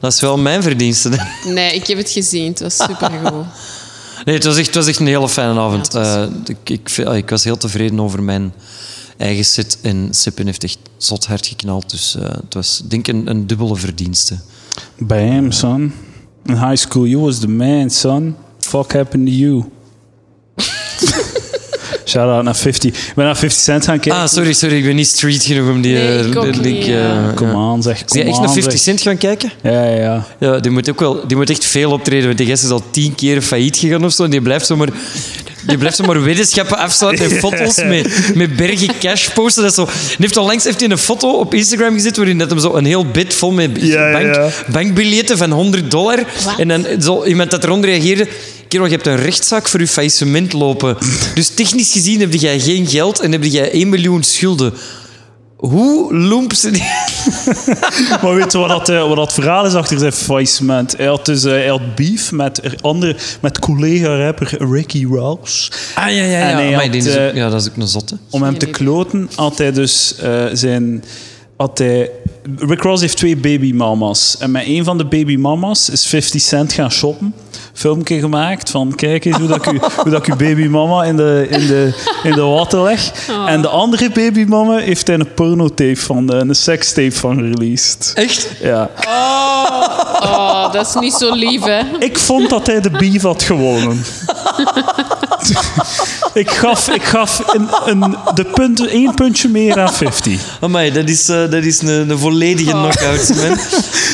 Speaker 1: Dat is wel mijn verdienste.
Speaker 2: Nee, ik heb het gezien. Het was supergoed.
Speaker 1: Nee, het was echt, het was echt een hele fijne avond.
Speaker 2: Ja, het was-
Speaker 1: Eh, ik, ik, vind- ah, ik was heel tevreden over mijn eigen set. En Sippen heeft echt zot hard geknald. Dus eh, het was denk ik een, een dubbele verdienste.
Speaker 3: Bam, son. In high school, you was the man, son. Fuck happened to you. Shout out naar 50. Ik ben naar 50 Cent gaan kijken.
Speaker 1: Ah, sorry, sorry. Ik ben niet street genoeg om die
Speaker 2: Nee,
Speaker 1: eh,
Speaker 2: ik ook
Speaker 1: link...
Speaker 2: niet,
Speaker 1: eh,
Speaker 2: ja.
Speaker 1: ja.
Speaker 3: Kom aan, zeg.
Speaker 1: Is
Speaker 3: Kom
Speaker 1: die echt
Speaker 3: aan,
Speaker 1: naar 50
Speaker 3: zeg.
Speaker 1: Cent gaan kijken?
Speaker 3: Ja, ja, ja.
Speaker 1: Ja, die moet ook wel... Die moet echt veel optreden. Want die gast is al tien keer failliet gegaan of zo. En die blijft zomaar... Die blijft zomaar weddenschappen afsluiten en foto's met, met bergen cash posten. Dat is zo. En heeft onlangs heeft hij een foto op Instagram gezet waarin dat hem zo een heel bed vol met
Speaker 3: Ja, ja,
Speaker 1: bank,
Speaker 3: ja.
Speaker 1: bankbiljetten van 100 dollar. En dan zo iemand dat eronder reageerde... Kerel, je hebt een rechtszaak voor je faillissement lopen. Dus technisch gezien heb jij geen geld en heb jij 1 miljoen schulden. Hoe loemp ze die...
Speaker 3: Maar weet je wat dat, eh, wat dat verhaal is achter zijn faillissement? Hij had dus eh, hij had beef met, er- andere, met collega-rapper Ricky Rouse.
Speaker 1: Ah, ja, ja,
Speaker 3: En hij
Speaker 1: Amai,
Speaker 3: had,
Speaker 1: die is ook-
Speaker 3: eh,
Speaker 1: ja, dat is ook een zotte.
Speaker 3: Om hem te kloten had hij dus eh, zijn... Had hij, Rick Ross heeft twee babymamas. En met een van de babymamas is 50 Cent gaan shoppen. Filmpje gemaakt van kijk eens hoe dat ik, u- hoe dat ik uw babymama in de, in de, in de watten leg. En de andere babymama heeft hij een pornotape van, eh, een sekstape van released.
Speaker 1: Echt?
Speaker 3: Ja.
Speaker 2: Oh, dat is niet zo lief, hè?
Speaker 3: Ik vond dat hij de beef had gewonnen. ik gaf, ik gaf een, een, de punt, één puntje meer aan 50.
Speaker 1: Amai, dat is, eh, dat is een, een volledige
Speaker 2: Oh.
Speaker 1: knockout, man.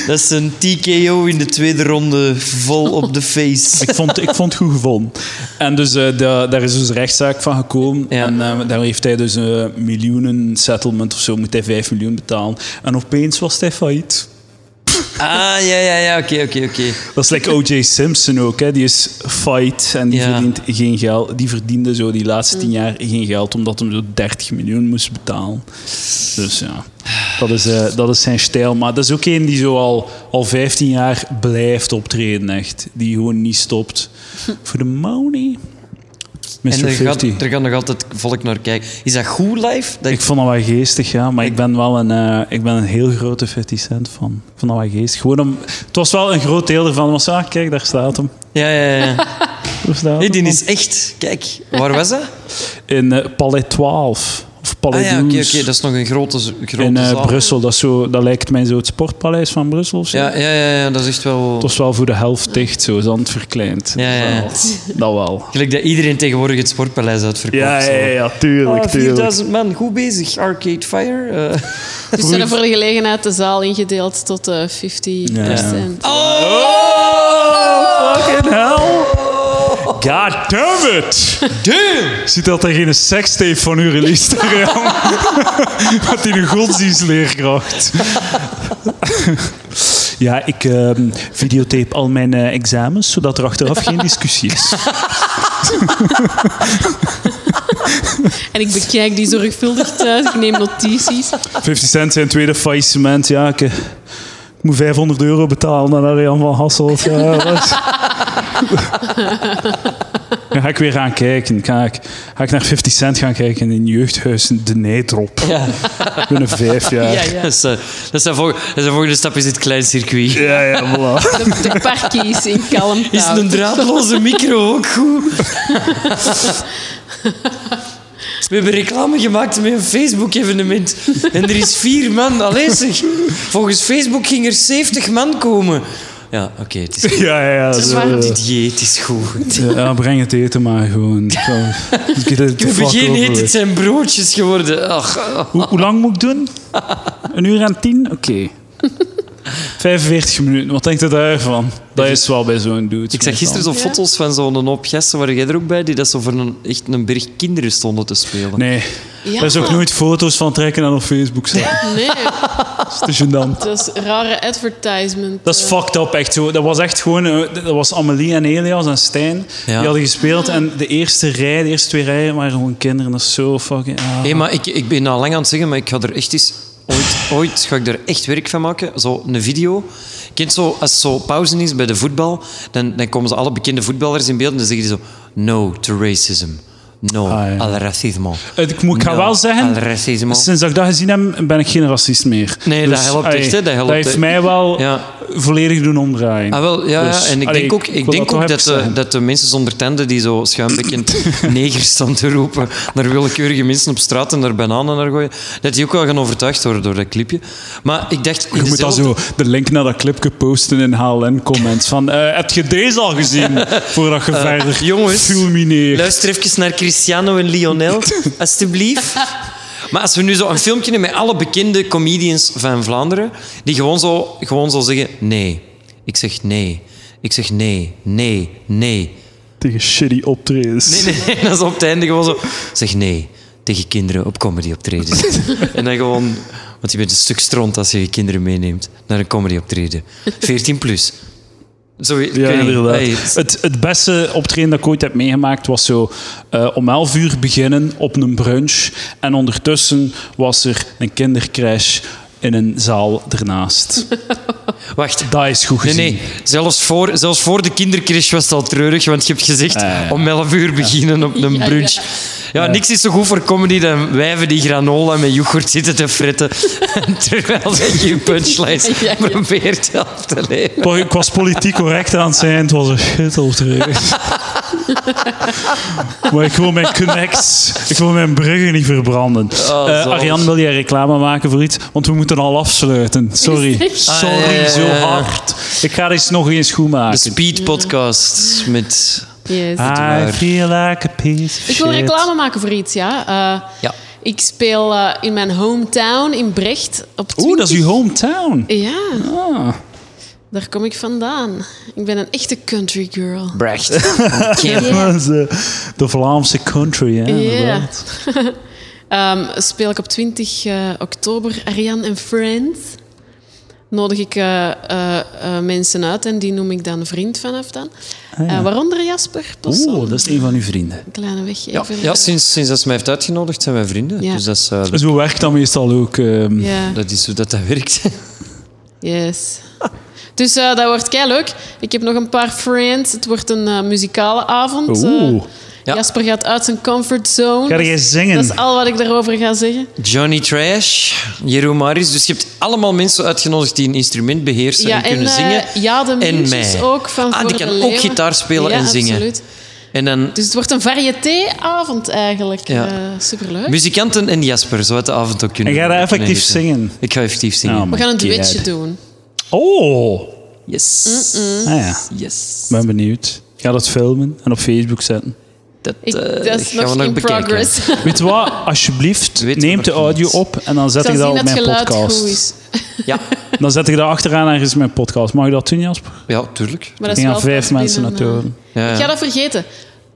Speaker 1: Dat is een TKO in de tweede ronde, vol op de face.
Speaker 3: Ik vond, ik vond het goed gevonden. En dus eh, da- daar is dus rechtszaak van gekomen.
Speaker 1: Ja.
Speaker 3: En eh, daar heeft hij dus een miljoenen settlement of zo. Moet hij 5 miljoen betalen. En opeens was hij failliet.
Speaker 1: Ah, ja, ja, ja, oké, oké, oké.
Speaker 3: Dat is like O.J. Simpson ook. Hè. Die is fight en die
Speaker 1: Ja.
Speaker 3: verdient geen geld. Die verdiende zo die laatste tien jaar geen geld. Omdat hem zo 30 miljoen moest betalen. Dus ja, dat is, eh, dat is zijn stijl. Maar dat is ook een die zo al, al 15 jaar blijft optreden. Echt. Die gewoon niet stopt. Voor de money. Mr.
Speaker 1: En er
Speaker 3: 50.
Speaker 1: gaat, er gaat nog altijd volk naar kijken. Is dat goed live? Dat
Speaker 3: Ik vond dat wel geestig, ja. Maar ik ben wel een, eh, ik ben een heel grote 50 Cent fan. Ik vond dat wel geestig. Gewoon om, het was wel een groot deel ervan. Was, ah, kijk, daar staat hem.
Speaker 1: Ja, ja, ja.
Speaker 3: Daar staat
Speaker 1: Nee, die
Speaker 3: hem.
Speaker 1: is echt... Kijk, waar was dat?
Speaker 3: in eh, Palais 12. Of
Speaker 1: Ah
Speaker 3: Palais
Speaker 1: ja, oké,
Speaker 3: Douze.
Speaker 1: oké, dat is nog een grote, z- grote
Speaker 3: in eh,
Speaker 1: zaal.
Speaker 3: Brussel. Dat, is zo, dat lijkt mij zo het sportpaleis van Brussel. of zo.
Speaker 1: Ja, ja, ja, ja, dat is echt wel...
Speaker 3: Het was wel voor de helft dicht, zo, dan het verkleind.
Speaker 1: Ja, ja, ja.
Speaker 3: Dat wel. eh,
Speaker 1: Gelijk dat iedereen tegenwoordig het Sportpaleis uitverkoopt.
Speaker 3: Ja, ja,
Speaker 1: zo.
Speaker 3: ja, ja, tuurlijk,
Speaker 1: Ah,
Speaker 3: tuurlijk.
Speaker 1: 4000 man, goed bezig. Arcade Fire. eh.
Speaker 2: Dus ze hebben voor de gelegenheid de zaal ingedeeld tot eh 50%.
Speaker 3: Oh, fucking hell. God damn it! Damn! Ziet dat er geen sekstape van u released Had hij een godsdienstleerkracht. Ja, ik ehm, videotape al mijn eh, examens, zodat er achteraf geen discussie is.
Speaker 2: En ik bekijk die zorgvuldig thuis. Ik neem notities.
Speaker 3: 50 Cent zijn tweede faillissement. Ja, ik, eh, ik moet 500 euro eh, betalen aan Arjan van Hasselt. Ja, dat is- Dan ga ik weer gaan kijken. Ga ik, ga ik naar 50 Cent gaan kijken in jeugdhuis De Nijdrop. Binnen vijf jaar.
Speaker 2: Ja,
Speaker 3: Ja,
Speaker 2: ja.
Speaker 1: Dat is, eh, dat zijn volg- dat zijn volgende stap is dit klein circuit.
Speaker 3: ja, voilà.
Speaker 2: De, de parkies in kalm.
Speaker 1: Is een draadloze micro ook goed? We hebben reclame gemaakt met een Facebook-evenement. En er is vier man aanwezig. Volgens Facebook ging er 70 man komen. Ja, oké, het is goed.
Speaker 3: Ja, ja, ja.
Speaker 2: is
Speaker 3: zo,
Speaker 2: waar.
Speaker 3: ja.
Speaker 1: Didier, het is goed.
Speaker 3: Ja, breng het eten maar gewoon. Zo. Get it the
Speaker 1: We hebben
Speaker 3: fuck
Speaker 1: geen
Speaker 3: over
Speaker 1: eten, het
Speaker 3: with.
Speaker 1: zijn broodjes geworden. Ach, ah.
Speaker 3: Hoe, hoe lang moet ik doen? Een uur en tien? Oké. 45 minuten, wat denkt u daarvan? Dat is wel bij zo'n dude.
Speaker 1: Ik zag gisteren zo
Speaker 2: Ja.
Speaker 1: foto's van zo'n hoop gasten, waar jij er ook bij, die dat zo voor een, echt een berg kinderen stonden te spelen.
Speaker 3: Nee,
Speaker 2: Ja.
Speaker 3: daar is ook nooit foto's van trekken en op Facebook zetten.
Speaker 2: Nee,
Speaker 3: Dat is te gênant.
Speaker 2: dat is rare advertisement.
Speaker 3: Dat is
Speaker 2: eh.
Speaker 3: fucked up, echt zo. Dat was echt gewoon... eh, Dat was Amelie en Elias en Stijn. Die
Speaker 1: Ja.
Speaker 3: hadden gespeeld en de eerste rij, de eerste twee rijen waren gewoon kinderen. Dat is zo fucking... ah.
Speaker 1: Hé, maar ik, ik ben al lang aan het zeggen, maar ik ga er echt eens... Ooit, ooit ga ik er echt werk van maken. Zo een video. Kent zo, als zo pauze is bij de voetbal, dan, dan komen ze alle bekende voetballers in beeld en dan zeggen die zo... No to racism. No
Speaker 3: Ah, ja.
Speaker 1: al racisme.
Speaker 3: Eh, Ik moet ik ga
Speaker 1: No
Speaker 3: wel
Speaker 1: al
Speaker 3: zeggen...
Speaker 1: racisme.
Speaker 3: Sinds dat ik dat gezien heb, ben ik geen racist meer.
Speaker 1: Nee, dat helpt
Speaker 3: allee,
Speaker 1: echt, hè, dat helpt
Speaker 3: heeft
Speaker 1: echt.
Speaker 3: mij wel
Speaker 1: Ja.
Speaker 3: volledig doen omdraaien.
Speaker 1: Ah, wel, ja,
Speaker 3: Dus,
Speaker 1: ja, en ik
Speaker 3: allee,
Speaker 1: denk ook,
Speaker 3: ik
Speaker 1: ik
Speaker 3: wil
Speaker 1: denk
Speaker 3: dat
Speaker 1: ook
Speaker 3: toch
Speaker 1: dat,
Speaker 3: even
Speaker 1: de,
Speaker 3: zeggen.
Speaker 1: dat de mensen zonder tanden die zo schuimbekkend negers staan te roepen naar willekeurige mensen op straat en naar bananen naar gooien, dat die ook wel gaan overtuigd worden door dat clipje. Maar ik dacht... in
Speaker 3: Je moet dan
Speaker 1: dezelfde-
Speaker 3: zo de link naar dat clipje posten in HLN-comments. Van, eh, heb je deze al gezien? Voordat je verder
Speaker 1: Eh, jongens,
Speaker 3: fulmineert.
Speaker 1: Luister even naar Cristiano en Lionel, alstublieft. Maar als we nu zo een filmpje hebben met alle bekende comedians van Vlaanderen, die gewoon zo, gewoon zo zeggen: nee. Ik zeg nee. Ik zeg nee, nee, nee.
Speaker 3: Tegen shitty optredens.
Speaker 1: Nee, nee, dat is op het einde gewoon zo. Zeg nee tegen kinderen op comedy optreden. en dan gewoon, want je bent een stuk stront als je je kinderen meeneemt naar een comedy optreden. 14 plus. Zo, ik
Speaker 3: Ja,
Speaker 1: weet niet.
Speaker 3: inderdaad.
Speaker 1: Hey,
Speaker 3: het, het beste optreden dat ik ooit heb meegemaakt was zo eh, om 11 uur beginnen op een brunch. En ondertussen was er een kindercrash in een zaal ernaast.
Speaker 1: wacht,
Speaker 3: Dat is goed
Speaker 1: Nee,
Speaker 3: gezien.
Speaker 1: nee. Zelfs voor, zelfs voor de kindercrash was het al treurig, want je hebt gezegd
Speaker 3: ja, ja.
Speaker 1: om 11 uur beginnen op een
Speaker 2: Ja,
Speaker 1: brunch. Ah, Ja, niks is zo goed voor comedy dan wijven die granola met yoghurt zitten te fretten, terwijl ze je punchlines
Speaker 2: Ja, ja, ja.
Speaker 1: probeert af te leven.
Speaker 3: Maar Ik was politiek correct aan het zijn, het was een shit optreden. maar ik wil mijn connects, ik wil mijn bruggen niet verbranden.
Speaker 1: Oh,
Speaker 3: Eh,
Speaker 1: zalig.
Speaker 3: Arjan, wil jij reclame maken voor iets? Want we moeten al afsluiten. Sorry. Sorry,
Speaker 1: Ah, ja, ja, ja,
Speaker 3: zo
Speaker 1: ja.
Speaker 3: hard. Ik ga dit nog eens goed
Speaker 1: De
Speaker 3: maken.
Speaker 1: Speed Podcast met...
Speaker 2: Yes.
Speaker 3: I feel like a piece of
Speaker 2: Ik wil
Speaker 3: Ah, shit.
Speaker 2: reclame maken voor iets, ja. Eh,
Speaker 1: Ja.
Speaker 2: Ik speel eh, in mijn hometown in Brecht. Op
Speaker 3: Oeh, dat is
Speaker 2: 20
Speaker 3: uw hometown.
Speaker 2: Ja,
Speaker 3: Ah.
Speaker 2: daar kom ik vandaan. Ik ben een echte country girl.
Speaker 1: Brecht.
Speaker 2: Ja.
Speaker 3: De, eh, de Vlaamse country, hè?
Speaker 2: Ja.
Speaker 3: inderdaad.
Speaker 2: Ehm, speel ik op 20 eh, oktober Ariane en Friends. Nodig ik eh, eh, eh, mensen uit en die noem ik dan vriend vanaf dan. Eh, waaronder Jasper Possel.
Speaker 3: Ah, Oeh, dat is een van uw vrienden.
Speaker 2: Kleine
Speaker 1: Ja,
Speaker 2: weggever.
Speaker 1: ja sinds, sinds dat ze mij heeft uitgenodigd zijn wij vrienden.
Speaker 2: Ja.
Speaker 1: Dus dat is, eh, dat,
Speaker 3: Zo werkt dat meestal ook. ehm,
Speaker 2: Ja.
Speaker 1: dat is hoe dat, dat werkt.
Speaker 2: Yes. Dus eh, dat wordt kei leuk. Ik heb nog een paar friends. Het wordt een eh, muzikale avond.
Speaker 3: Oeh.
Speaker 2: Eh,
Speaker 1: Ja.
Speaker 2: Jasper gaat uit zijn comfortzone.
Speaker 3: Ga jij zingen?
Speaker 2: Dat is al wat ik daarover ga zeggen.
Speaker 1: Johnny Trash, Jeroen Maris. Dus je hebt allemaal mensen uitgenodigd die een instrument beheersen en kunnen
Speaker 2: eh,
Speaker 1: zingen.
Speaker 2: ja, de
Speaker 1: en
Speaker 2: muziek
Speaker 1: mij.
Speaker 2: ook van
Speaker 1: ah,
Speaker 2: Voor
Speaker 1: die
Speaker 2: de
Speaker 1: kan ook
Speaker 2: Leeuwen.
Speaker 1: gitaar spelen
Speaker 2: Ja,
Speaker 1: en zingen.
Speaker 2: Absoluut.
Speaker 1: En dan
Speaker 2: Dus het wordt een variété-avond eigenlijk.
Speaker 1: Ja.
Speaker 2: Eh, superleuk.
Speaker 1: muzikanten en Jasper, zo uit de avond ook kunnen
Speaker 3: En ga je dat
Speaker 1: kunnen
Speaker 3: effectief
Speaker 1: eten.
Speaker 3: zingen?
Speaker 1: Ik ga effectief zingen.
Speaker 3: Ja, man.
Speaker 2: We gaan een
Speaker 3: God.
Speaker 2: duetje doen.
Speaker 3: Oh!
Speaker 1: Yes.
Speaker 3: Ah ja,
Speaker 1: Yes.
Speaker 3: ik ben benieuwd. Ik ga dat filmen en op Facebook zetten.
Speaker 1: Dat,
Speaker 2: Ik,
Speaker 1: eh,
Speaker 2: dat is
Speaker 1: gaan we
Speaker 2: nog in
Speaker 1: bekijken.
Speaker 2: progress.
Speaker 3: Weet je wat? Alsjeblieft,
Speaker 1: Weet
Speaker 3: neem
Speaker 1: wat
Speaker 3: de
Speaker 1: ik niet.
Speaker 3: audio op en dan
Speaker 2: Ik
Speaker 3: zet
Speaker 2: zal
Speaker 3: ik
Speaker 2: zien
Speaker 3: dat op
Speaker 2: dat het
Speaker 3: mijn
Speaker 2: geluid
Speaker 3: podcast.
Speaker 2: goed is.
Speaker 1: Ja.
Speaker 3: Dan zet ik daar achteraan ergens mijn podcast. Mag je dat doen, Jasper?
Speaker 1: ja, tuurlijk.
Speaker 2: Maar
Speaker 3: Ik
Speaker 2: dat
Speaker 3: denk
Speaker 2: is
Speaker 3: aan
Speaker 2: wel
Speaker 3: vijf
Speaker 2: pas
Speaker 3: mensen
Speaker 2: binnen,
Speaker 3: naar
Speaker 2: eh,
Speaker 3: horen.
Speaker 1: Ja,
Speaker 2: Ik
Speaker 1: ja.
Speaker 2: ga dat vergeten.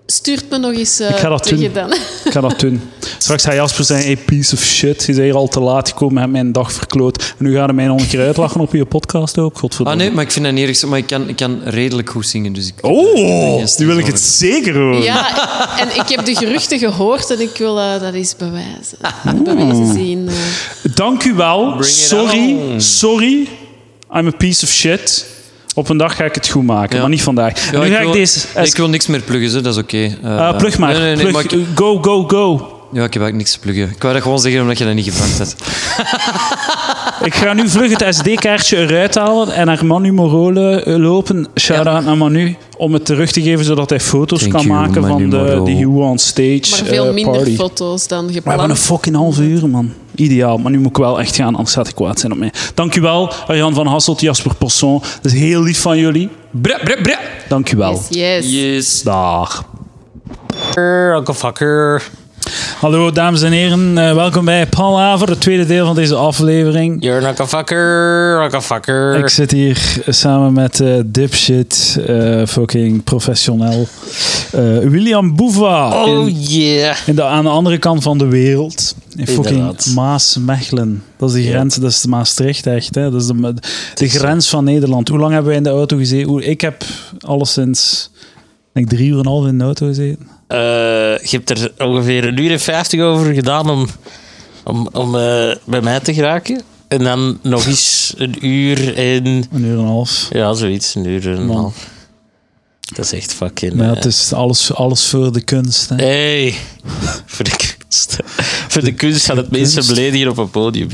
Speaker 2: Stuurt me nog eens eh
Speaker 3: Ik ga dat
Speaker 2: terug
Speaker 3: doen.
Speaker 2: dan.
Speaker 3: Ik ga dat doen. Straks gaat Jasper zijn hey, piece of shit. Je is hier al te laat gekomen, heb mijn dag verkloot. En nu gaan ze mij nog een keer uitlachen op je podcast ook.
Speaker 1: Ah
Speaker 3: Godverdomme.
Speaker 1: nee, maar ik vind dat niet erg. Maar ik kan, ik kan redelijk goed zingen, dus ik...
Speaker 3: Oh,
Speaker 1: Yes,
Speaker 3: nu wil ik
Speaker 1: sorry.
Speaker 3: het zeker horen.
Speaker 2: Ja, en ik heb de geruchten gehoord en ik wil eh, dat eens bewijzen. Dat willen ze zien. eh.
Speaker 3: Dank u wel.
Speaker 1: Bring it
Speaker 3: Sorry,
Speaker 1: on.
Speaker 3: sorry. I'm a piece of shit. Op een dag ga ik het goed maken,
Speaker 1: Ja.
Speaker 3: maar niet vandaag. En
Speaker 1: Ja,
Speaker 3: nu
Speaker 1: ik
Speaker 3: ga ik,
Speaker 1: wil-
Speaker 3: deze...
Speaker 1: nee, ik wil niks meer pluggen, hè, dat is oké. Eh,
Speaker 3: Ah, plug maar.
Speaker 1: Nee, nee, nee,
Speaker 3: Plug.
Speaker 1: maar ik,
Speaker 3: Go, go, go.
Speaker 1: ja, ik heb eigenlijk niks te pluggen. Ik wou dat gewoon zeggen omdat je dat niet gevraagd hebt.
Speaker 3: Ik ga nu vlug het SD-kaartje eruit halen en naar Manu Morole eh, lopen. Shout-out naar Manu. Om het terug te geven, zodat hij foto's
Speaker 1: Thank
Speaker 3: kan
Speaker 1: you,
Speaker 3: maken
Speaker 1: Manu
Speaker 3: van de,
Speaker 1: Morole.
Speaker 3: de You on Stage
Speaker 2: Maar veel
Speaker 3: eh,
Speaker 2: minder
Speaker 3: party.
Speaker 2: foto's dan
Speaker 3: We hebben een
Speaker 2: gepland.
Speaker 3: fucking half uur, man. Ideaal. Maar nu moet ik wel echt gaan, anders gaat hij kwaad zijn op mij. Dankjewel, Arjan van Hasselt, Jasper Posson. Dat is heel lief van jullie.
Speaker 1: Bre, bre, bre.
Speaker 3: Dankjewel.
Speaker 2: Yes, yes.
Speaker 1: Yes.
Speaker 3: Dag.
Speaker 5: Uncle fucker.
Speaker 3: Hallo, dames en heren. Eh, welkom bij Palaver, het tweede deel van deze aflevering.
Speaker 5: You're an uncle fucker. Uncle fucker.
Speaker 3: Ik zit hier samen met eh, dipshit, eh, fucking professioneel, eh, William Boeva.
Speaker 5: oh
Speaker 3: in,
Speaker 5: yeah.
Speaker 3: in de, aan de andere kant van de wereld. In fucking
Speaker 5: Inderdaad.
Speaker 3: Maas-Mechelen. Dat is de grens, dat is de Maastricht echt. Hè? Dat is de, de grens van Nederland. Hoe lang hebben wij in de auto gezeten? Hoe- Ik heb alleszins ik denk drie uur en een half in de auto gezeten.
Speaker 5: Eh, je hebt er ongeveer een uur en vijftig over gedaan om, om, om eh, bij mij te geraken. En dan nog eens een uur en...
Speaker 3: Een uur en een half.
Speaker 5: Ja, zoiets. Een uur en een
Speaker 3: Man.
Speaker 5: half. Dat is echt fucking...
Speaker 3: Maar ja,
Speaker 5: eh,
Speaker 3: het is alles, alles voor de kunst. Hè?
Speaker 5: Hey, voor de kunst. voor de kunst gaan het mensen
Speaker 3: kunst.
Speaker 5: beledigen op een podium.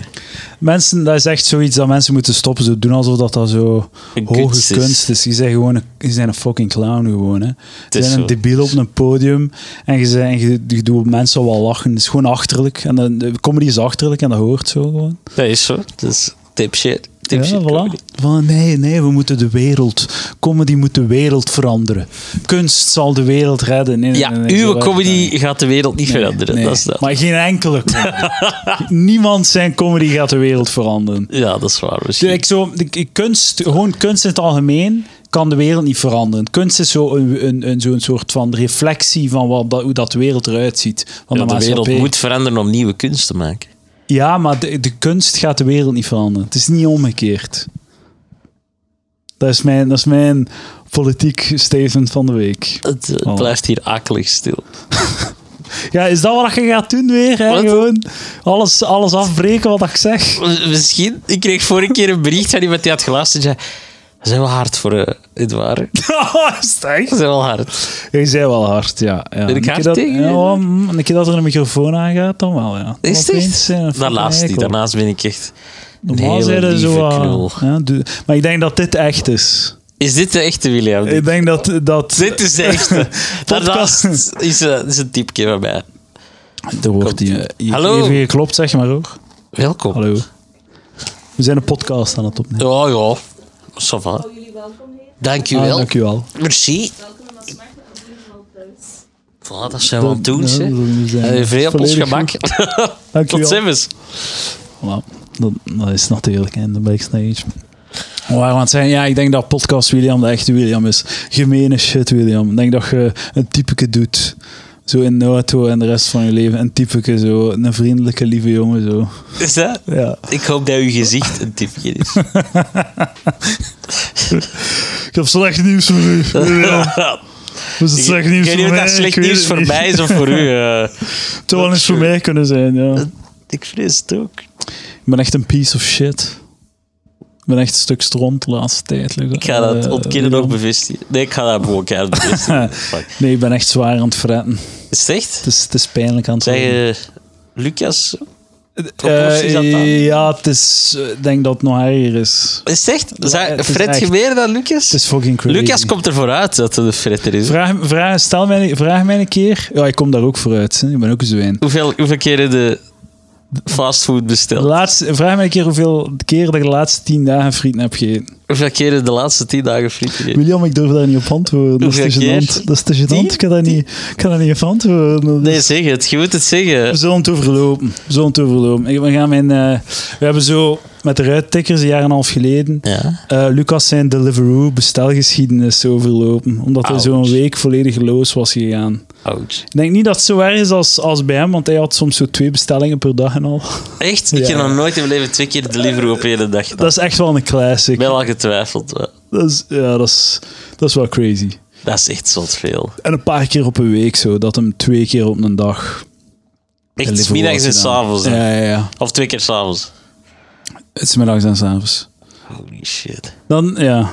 Speaker 3: Mensen, dat is echt zoiets dat mensen moeten stoppen. Ze doen alsof dat, dat zo
Speaker 5: Een
Speaker 3: hoge
Speaker 5: kunst
Speaker 3: kunst
Speaker 5: is.
Speaker 3: is. Je, bent gewoon een, je bent een fucking clown gewoon. Hè. Je
Speaker 5: is
Speaker 3: bent een
Speaker 5: zo.
Speaker 3: debiel op een podium en je, bent, je, je doet mensen wel lachen. Het is gewoon achterlijk. En dan, de comedy is achterlijk en dat hoort zo gewoon.
Speaker 5: Dat is zo. Dat is dipshit.
Speaker 3: ja,
Speaker 5: Dipshit comedy.
Speaker 3: voilà. Van, nee, nee, we moeten de wereld. Comedy moet de wereld veranderen. Kunst zal de wereld redden. Nee, nee,
Speaker 5: Ja,
Speaker 3: nee, nee, zo
Speaker 5: uw
Speaker 3: werkt dat niet.
Speaker 5: comedy gaat de wereld niet
Speaker 3: Nee,
Speaker 5: veranderen.
Speaker 3: nee.
Speaker 5: Dat is dat.
Speaker 3: Maar geen enkele comedy. Niemand zijn comedy gaat de wereld veranderen.
Speaker 5: Ja, dat is waar.
Speaker 3: Dus
Speaker 5: Misschien.
Speaker 3: ik zo, ik, ik- kunst, gewoon kunst in het algemeen kan de wereld niet veranderen. Kunst is zo'n een, een, een, zo'n soort van reflectie van wat, dat, hoe dat de wereld eruit ziet. Van
Speaker 5: Ja, de wereld
Speaker 3: maatschappij.
Speaker 5: moet veranderen om nieuwe kunst te maken.
Speaker 3: Ja, maar de, de kunst gaat de wereld niet veranderen. Het is niet omgekeerd. Dat is mijn, dat is mijn politiek statement van de week.
Speaker 5: Het, het
Speaker 3: Oh.
Speaker 5: blijft hier akelig stil.
Speaker 3: Ja, is dat wat je gaat doen weer? Hè?
Speaker 5: Wat?
Speaker 3: Gewoon alles, alles afbreken wat ik zeg.
Speaker 5: Misschien, ik kreeg vorige keer een bericht van iemand die had geluisterd en zei... "We Zijn wel hard voor eh, Edouard. We
Speaker 3: is het echt?
Speaker 5: Zijn wel hard.
Speaker 3: Je zei wel hard, ja. ja.
Speaker 5: ik
Speaker 3: Een keer
Speaker 5: hard
Speaker 3: dat,
Speaker 5: tegen je?
Speaker 3: ja, mm, een keer dat er een microfoon aangaat, dan wel, ja.
Speaker 5: Is het
Speaker 3: Opeens,
Speaker 5: echt?
Speaker 3: eh, een
Speaker 5: Daarnaast
Speaker 3: fucking
Speaker 5: niet.
Speaker 3: eikel.
Speaker 5: Daarnaast ben ik echt een
Speaker 3: Normaal zijn
Speaker 5: hele
Speaker 3: er
Speaker 5: lieve
Speaker 3: zo wat-
Speaker 5: knul.
Speaker 3: ja, doe- Maar ik denk dat dit echt is.
Speaker 5: Is dit de echte William?
Speaker 3: Ik denk dat... dat
Speaker 5: Dit is de echte. Daarnaast
Speaker 3: Podcast.
Speaker 5: is, eh, is een typje van mij.
Speaker 3: Er wordt hier, hier
Speaker 5: Hallo?
Speaker 3: even geklopt, zeg maar ook.
Speaker 5: Welkom.
Speaker 3: Hallo. We zijn een podcast aan het opnemen.
Speaker 5: Ja, ja. Ça va. Dank u
Speaker 3: Ah,
Speaker 5: wel.
Speaker 3: dank u wel.
Speaker 5: Merci. Voilà, dat zijn we aan het doen,
Speaker 3: Ja,
Speaker 5: hè.
Speaker 3: we zijn
Speaker 5: Eh, Vrij op ons
Speaker 3: volledig
Speaker 5: gemak.
Speaker 3: Dank u
Speaker 5: Tot
Speaker 3: wel.
Speaker 5: ziens.
Speaker 3: Voilà. Dat, dat is natuurlijk en de backstage. We waren aan het zeggen, ja, ik denk dat podcast William de echte William is. Gemene shit, William. Ik denk dat je een typeke doet. Zo in de auto en de rest van je leven. Een typeke, zo. Een vriendelijke, lieve jongen, zo.
Speaker 5: Is dat?
Speaker 3: Ja.
Speaker 5: Ik hoop dat uw gezicht een tipje is.
Speaker 3: Ik heb slecht nieuws voor u, William. Was het slecht nieuws
Speaker 5: ik weet
Speaker 3: voor
Speaker 5: niet of
Speaker 3: mij?
Speaker 5: dat
Speaker 3: Ik
Speaker 5: slecht
Speaker 3: weet
Speaker 5: nieuws
Speaker 3: het
Speaker 5: voor
Speaker 3: niet.
Speaker 5: mij is of voor u. eh.
Speaker 3: Het zou wel eens voor mij kunnen zijn, ja.
Speaker 5: ik vrees het ook.
Speaker 3: Ik ben echt een piece of shit. Ik ben echt een stuk stront de laatste tijd.
Speaker 5: Ik ga dat
Speaker 3: Eh,
Speaker 5: ontkennen
Speaker 3: William.
Speaker 5: ook bevestigen. Nee, ik ga dat gewoon keihard bevestigen. Fuck.
Speaker 3: Nee, ik ben echt zwaar aan het fretten.
Speaker 5: Is het echt?
Speaker 3: Het is, het is pijnlijk aan het
Speaker 5: Zeg
Speaker 3: worden.
Speaker 5: je Lucas?
Speaker 3: Eh,
Speaker 5: Proporties aan het aannemen?
Speaker 3: ja, het is... eh, Ik denk dat het nog erger is.
Speaker 5: Is het echt? Zijn-
Speaker 3: het is
Speaker 5: Fred
Speaker 3: echt.
Speaker 5: je meer dan Lucas?
Speaker 3: Het is fucking crazy.
Speaker 5: Lucas komt er vooruit dat het een Fred er is.
Speaker 3: Vraag, vraag, stel mij, vraag mij een keer. Ja, ik kom daar ook vooruit. Hè. Ik ben ook een zwijn.
Speaker 5: Hoeveel, hoeveel keer heb je fastfood
Speaker 3: De
Speaker 5: besteld?
Speaker 3: laatste, vraag mij een keer hoeveel keer dat ik de laatste tien dagen frieten heb gegeten.
Speaker 5: hoeveel keer heb je de laatste tien dagen friet gegeten?
Speaker 3: William, ik durf daar niet op antwoorden. Dat is te
Speaker 5: Hoeveel
Speaker 3: gênant.
Speaker 5: keer?
Speaker 3: Dat is te
Speaker 5: Tien?
Speaker 3: gênant. Ik kan daar niet, ik kan daar niet op antwoorden. Dat
Speaker 5: Nee,
Speaker 3: is-
Speaker 5: zeg het. Je moet het
Speaker 3: We
Speaker 5: zeggen.
Speaker 3: zullen het overlopen. We zullen het overlopen. Ik- We, gaan mijn, eh, we hebben zo met de ruittikkers een jaar en een half geleden
Speaker 5: Ja.
Speaker 3: Eh, Lucas zijn Deliveroo bestelgeschiedenis overlopen. Omdat hij
Speaker 5: Ouch.
Speaker 3: zo'n week volledig loos was gegaan.
Speaker 5: Oud.
Speaker 3: Ik denk niet dat het zo erg is als, als bij hem, want hij had soms zo twee bestellingen per dag en al.
Speaker 5: Echt? Ik heb
Speaker 3: Ja.
Speaker 5: nog nooit in mijn leven twee keer Deliveroo op één dag gedaan.
Speaker 3: Dat is echt wel een
Speaker 5: Ik
Speaker 3: classic.
Speaker 5: ben al getwijfeld. maar
Speaker 3: Dat is, ja, dat is, dat is wel crazy.
Speaker 5: Dat is echt zot veel.
Speaker 3: En een paar keer op een week zo, dat hem twee keer op een dag.
Speaker 5: Echt,
Speaker 3: Deliveroo
Speaker 5: s middags en
Speaker 3: had gedaan.
Speaker 5: s'avonds. hè.
Speaker 3: Ja, ja, ja.
Speaker 5: Of twee keer s'avonds.
Speaker 3: Het is middags en s'avonds.
Speaker 5: Holy shit.
Speaker 3: Dan, ja.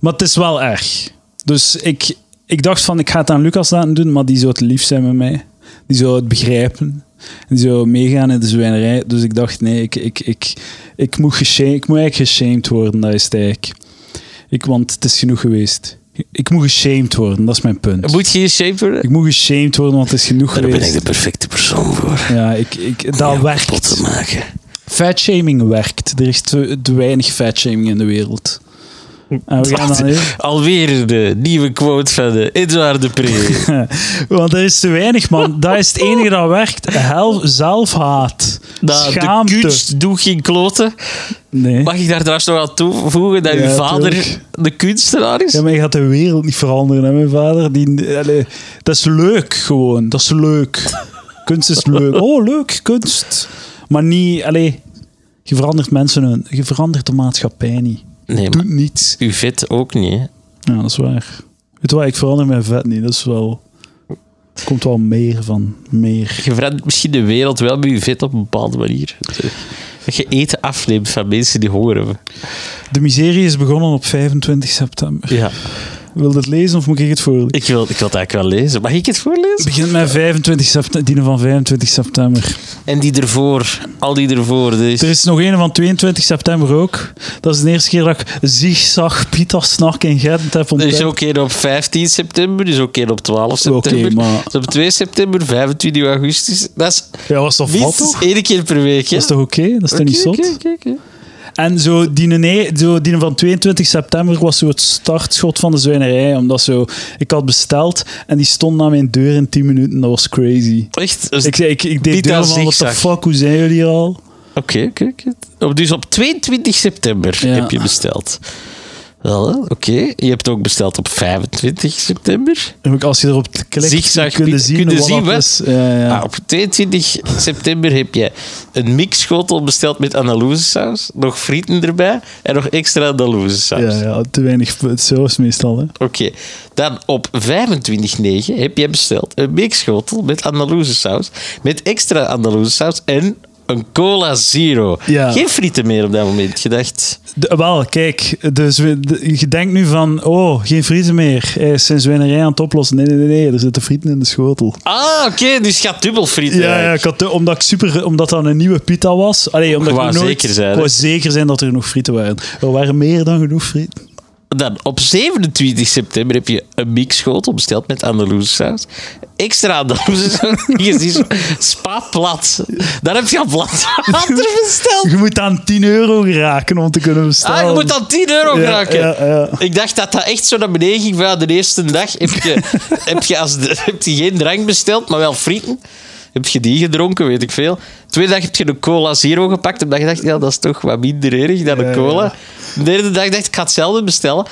Speaker 3: Maar het is wel erg. Dus ik, ik dacht van, ik ga het aan Lucas laten doen, maar die zou het lief zijn met mij. Die zou het begrijpen. Die zou meegaan in de zwijnerij. Dus ik dacht, nee, ik, ik, ik, ik, moet, geshamed, ik moet eigenlijk geshamed worden, dat is het eigenlijk. Ik, want het is genoeg geweest. Ik moet geshamed worden, dat is mijn punt.
Speaker 5: Moet je je shape worden?
Speaker 3: Ik moet geshamed worden, want het is genoeg
Speaker 5: Daar ben ik
Speaker 3: geweest.
Speaker 5: de perfecte persoon voor.
Speaker 3: Ja, ik, ik, dat
Speaker 5: Om jou kapot
Speaker 3: werkt.
Speaker 5: te maken.
Speaker 3: Fatshaming werkt. Er is te, te weinig fatshaming in de wereld.
Speaker 5: Hm.
Speaker 3: En we gaan dan even-
Speaker 5: Alweer de nieuwe quote van de Edouard de Pre.
Speaker 3: Want er is te weinig, man. Dat is het enige dat werkt. Hel, zelfhaat.
Speaker 5: Dat de
Speaker 3: schaamte.
Speaker 5: kunst doet geen kloten.
Speaker 3: nee.
Speaker 5: Mag ik daar trouwens nog aan toevoegen dat
Speaker 3: Ja,
Speaker 5: uw vader
Speaker 3: tuurlijk.
Speaker 5: de kunstenaar is?
Speaker 3: Ja, maar je gaat de wereld niet veranderen, hè, mijn vader. Die, allee, dat is leuk, gewoon. Dat is leuk. kunst is leuk. Oh, leuk, kunst. Maar niet, allee, je verandert mensen, hun- je verandert de maatschappij niet.
Speaker 5: Nee,
Speaker 3: Doet
Speaker 5: maar
Speaker 3: niets.
Speaker 5: uw vet ook niet. Hè?
Speaker 3: Ja, dat is waar. Weet je wat, ik verander mijn vet niet. Dat is wel... Er komt wel meer van. Meer.
Speaker 5: Je verandert misschien de wereld wel met uw vet op een bepaalde manier. Dat je eten afneemt van mensen die honger hebben.
Speaker 3: De miserie is begonnen op 25 september.
Speaker 5: Ja,
Speaker 3: Wil je het lezen of moet ik het voorlezen?
Speaker 5: ik wil, ik wil het eigenlijk wel lezen. Mag ik het voorlezen?
Speaker 3: Het begint met 25 september, dienen van 25 september.
Speaker 5: En die ervoor, al die ervoor. Dus.
Speaker 3: Er is nog een van 22 september ook. Dat is de eerste keer dat ik zigzag Pita Snak in Gent heb
Speaker 5: Er
Speaker 3: ontdekt.
Speaker 5: is ook een op 15 september, dus ook een op 12
Speaker 3: Oké,
Speaker 5: september.
Speaker 3: maar-
Speaker 5: Dus op 2 september, 25 augustus. Dat is
Speaker 3: Ja, was toch wat
Speaker 5: minstens
Speaker 3: toch?
Speaker 5: één keer per week. Hè?
Speaker 3: Dat is toch oké? Dat is toch niet zot?
Speaker 5: Oké, oké, oké, oké.
Speaker 3: En zo die, nee, zo die van 22 september was zo het startschot van de zwijnerij. Omdat zo, ik had besteld en die stond aan mijn deur in 10 minuten. Dat was crazy.
Speaker 5: Echt? Dus-
Speaker 3: Ik, zei, ik, ik deed
Speaker 5: Pita
Speaker 3: deur van, what the
Speaker 5: zigzag.
Speaker 3: fuck, hoe zijn jullie hier al?
Speaker 5: Oké, oké, oké. Op- Dus op 22 september
Speaker 3: Ja.
Speaker 5: heb je besteld. Wel, hè? oké. Je hebt ook besteld op 25 september.
Speaker 3: En ook Als je erop klikt,
Speaker 5: Zigzag
Speaker 3: kun je
Speaker 5: Pita-
Speaker 3: zien,
Speaker 5: kun je
Speaker 3: wat
Speaker 5: zien
Speaker 3: dat
Speaker 5: wat?
Speaker 3: is. Ja, ja.
Speaker 5: Ah, op 22 september heb je een mixschotel besteld met Andalousesaus, nog frieten erbij en nog extra Andalousesaus.
Speaker 3: Ja, ja, te weinig p- saus meestal. Hè.
Speaker 5: Oké, dan op 25-9 heb jij besteld een mixschotel met Andalousesaus, met extra Andalousesaus en een cola zero.
Speaker 3: Ja.
Speaker 5: Geen frieten meer op dat moment, gedacht.
Speaker 3: De- wel, kijk, dus we- de- je denkt nu van, oh, geen frieten meer. Hij is zijn zwijnerij aan het oplossen. Nee, nee, nee, nee, er zitten frieten in de schotel.
Speaker 5: Ah, oké, dus je gaat dubbel frieten.
Speaker 3: Ja, ja ik had de- omdat, ik super, omdat dat een nieuwe pita was. Allee, omdat
Speaker 5: Je
Speaker 3: ik
Speaker 5: wou
Speaker 3: nooit,
Speaker 5: zeker zijn,
Speaker 3: ik
Speaker 5: hè?
Speaker 3: wou zeker zijn dat er genoeg frieten waren. Er waren meer dan genoeg frieten.
Speaker 5: Dan op 27 september heb je een mixschotel besteld met Andalousesaus. Extra Andalousesaus. je ziet spa plat. Dan heb je al plat water besteld.
Speaker 3: Je moet aan 10 euro geraken om te kunnen bestellen.
Speaker 5: Ah, je moet dan 10 euro
Speaker 3: Ja,
Speaker 5: raken.
Speaker 3: ja, ja.
Speaker 5: Ik dacht dat dat echt zo naar beneden ging. van, ja, de eerste dag heb je, heb, je als de- heb je geen drank besteld, maar wel frieten. Heb je die gedronken, weet ik veel. Tweede dag heb je een cola zero gepakt. Omdat je dacht, ja, dat is toch wat minder erg dan een cola. De derde dag dacht ik, ik ga hetzelfde bestellen.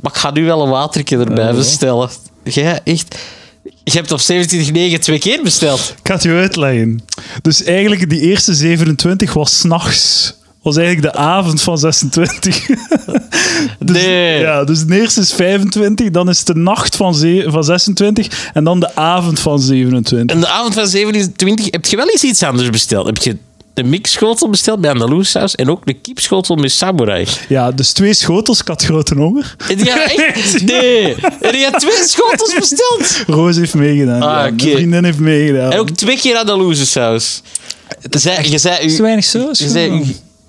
Speaker 5: Maar ik ga nu wel een watertje erbij bestellen. Jij echt... Je hebt op 27-9 twee keer besteld.
Speaker 3: Ik ga het je uitleggen. Dus eigenlijk, die eerste 27 was s'nachts. Was eigenlijk de avond van 26. Dus-
Speaker 5: Nee.
Speaker 3: Ja, dus de eerste is 25, dan is het de nacht van, ze- van 26 en dan de avond van 27.
Speaker 5: En de avond van 27 heb je wel eens iets anders besteld. Heb je een mixschotel besteld bij Andalousaus en ook een kiepschotel met samurai.
Speaker 3: Ja, dus twee schotels, ik had grote honger.
Speaker 5: En die had echt... Nee. En die had twee schotels besteld.
Speaker 3: Roos heeft meegedaan.
Speaker 5: Ah,
Speaker 3: ja.
Speaker 5: oké.
Speaker 3: Mijn vriendin heeft meegedaan.
Speaker 5: En ook twee keer Andalousesaus. Zij, je zei...
Speaker 3: te
Speaker 5: Je,
Speaker 3: weinig saus.
Speaker 5: je zei... uw-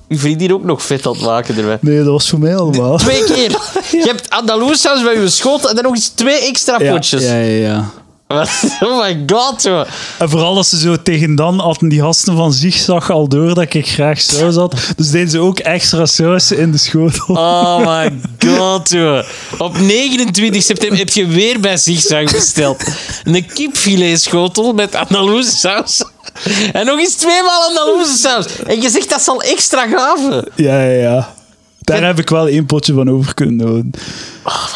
Speaker 5: Uw vriendin ook nog vet aan het maken erbij.
Speaker 3: Nee, dat was voor mij allemaal.
Speaker 5: Twee keer. Je hebt Andalousesaus bij je schotel en dan nog eens twee extra potjes.
Speaker 3: ja, ja, ja.
Speaker 5: Oh my god, joh.
Speaker 3: En vooral dat ze zo tegen dan hadden die gasten van zigzag al door dat ik graag saus had. Dus deden ze ook extra saus in de schotel.
Speaker 5: Oh my god, joh. Op 29 september heb je weer bij Zigzag besteld. Een kipfiletschotel met Andalouze saus. En nog eens tweemaal Andalouze saus. En je zegt dat zal extra gaven.
Speaker 3: Ja, ja, ja. Daar heb ik wel één potje van over kunnen houden.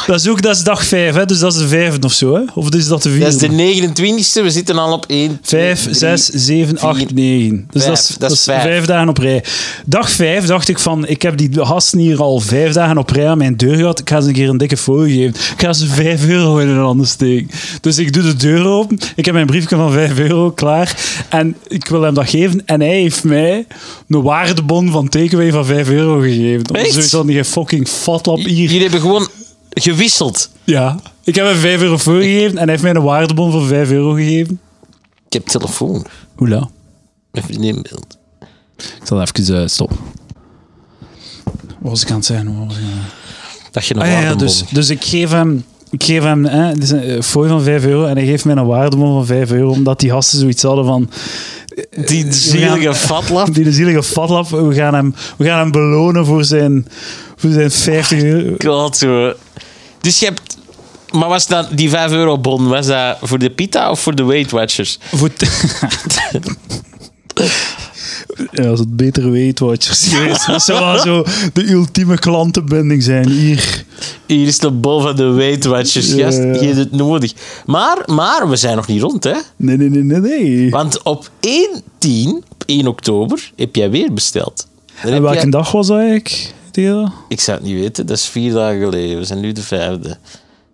Speaker 3: Dat is ook dat is dag 5, hè? dus dat is de vijfde of zo. Hè? Of is dat de vierde?
Speaker 5: Dat is de 29e, we zitten al op 1.
Speaker 3: 5, 6, 7, 8, 9. Dus dat is,
Speaker 5: Vijf, dat is vijf.
Speaker 3: vijf dagen op rij. Dag 5 dacht ik van, ik heb die gasten hier al vijf dagen op rij aan mijn deur gehad. Ik ga ze een keer een dikke fooi geven. Ik ga ze 5 euro in een ander steken. Dus ik doe de deur open. Ik heb mijn briefje van 5 euro klaar. En ik wil hem dat geven. En hij heeft mij een waardebon van takeaway van 5 euro gegeven. Om
Speaker 5: Echt?
Speaker 3: zoiets van die fucking fatlap hier.
Speaker 5: Jullie hebben gewoon gewisseld.
Speaker 3: Ja. Ik heb hem 5 euro voorgegeven en hij heeft mij een waardebon van 5 euro gegeven.
Speaker 5: Ik heb telefoon.
Speaker 3: Hoela.
Speaker 5: Mijn vriendin belt.
Speaker 3: Ik zal even eh, stoppen. Wat was ik aan het zeggen? Wat was ik aan het zeggen?
Speaker 5: Dat je een
Speaker 3: Ah, ja, ja,
Speaker 5: waardebon
Speaker 3: dus, dus ik geef hem... Ik geef hem hè, het is een eh, fooi van 5 euro en hij geeft mij een waardebon van 5 euro, omdat die gasten zoiets hadden van...
Speaker 5: Die zielige fatlap.
Speaker 3: Die zielige fatlap, we gaan hem, we gaan hem belonen voor zijn, voor zijn 50 euro.
Speaker 5: God, zo. Dus je hebt... Maar was dat die 5 euro bon, was dat voor de pita of voor de Weight Watchers?
Speaker 3: Voor t- ja, als het beter weet, Watchers. geweest. Dat zou wel zo de ultieme klantenbinding zijn. Hier.
Speaker 5: Hier is de bol van de Weight Watchers.
Speaker 3: Ja,
Speaker 5: Gast,
Speaker 3: ja.
Speaker 5: je hebt het nodig. Maar, maar, we zijn nog niet rond, hè?
Speaker 3: Nee, nee, nee, nee. nee.
Speaker 5: Want op 1, op 1 oktober, heb jij weer besteld. Dan
Speaker 3: En
Speaker 5: heb
Speaker 3: welke
Speaker 5: jij-
Speaker 3: dag was dat eigenlijk? Deel?
Speaker 5: Ik zou het niet weten, dat is vier dagen geleden. We zijn nu de vijfde.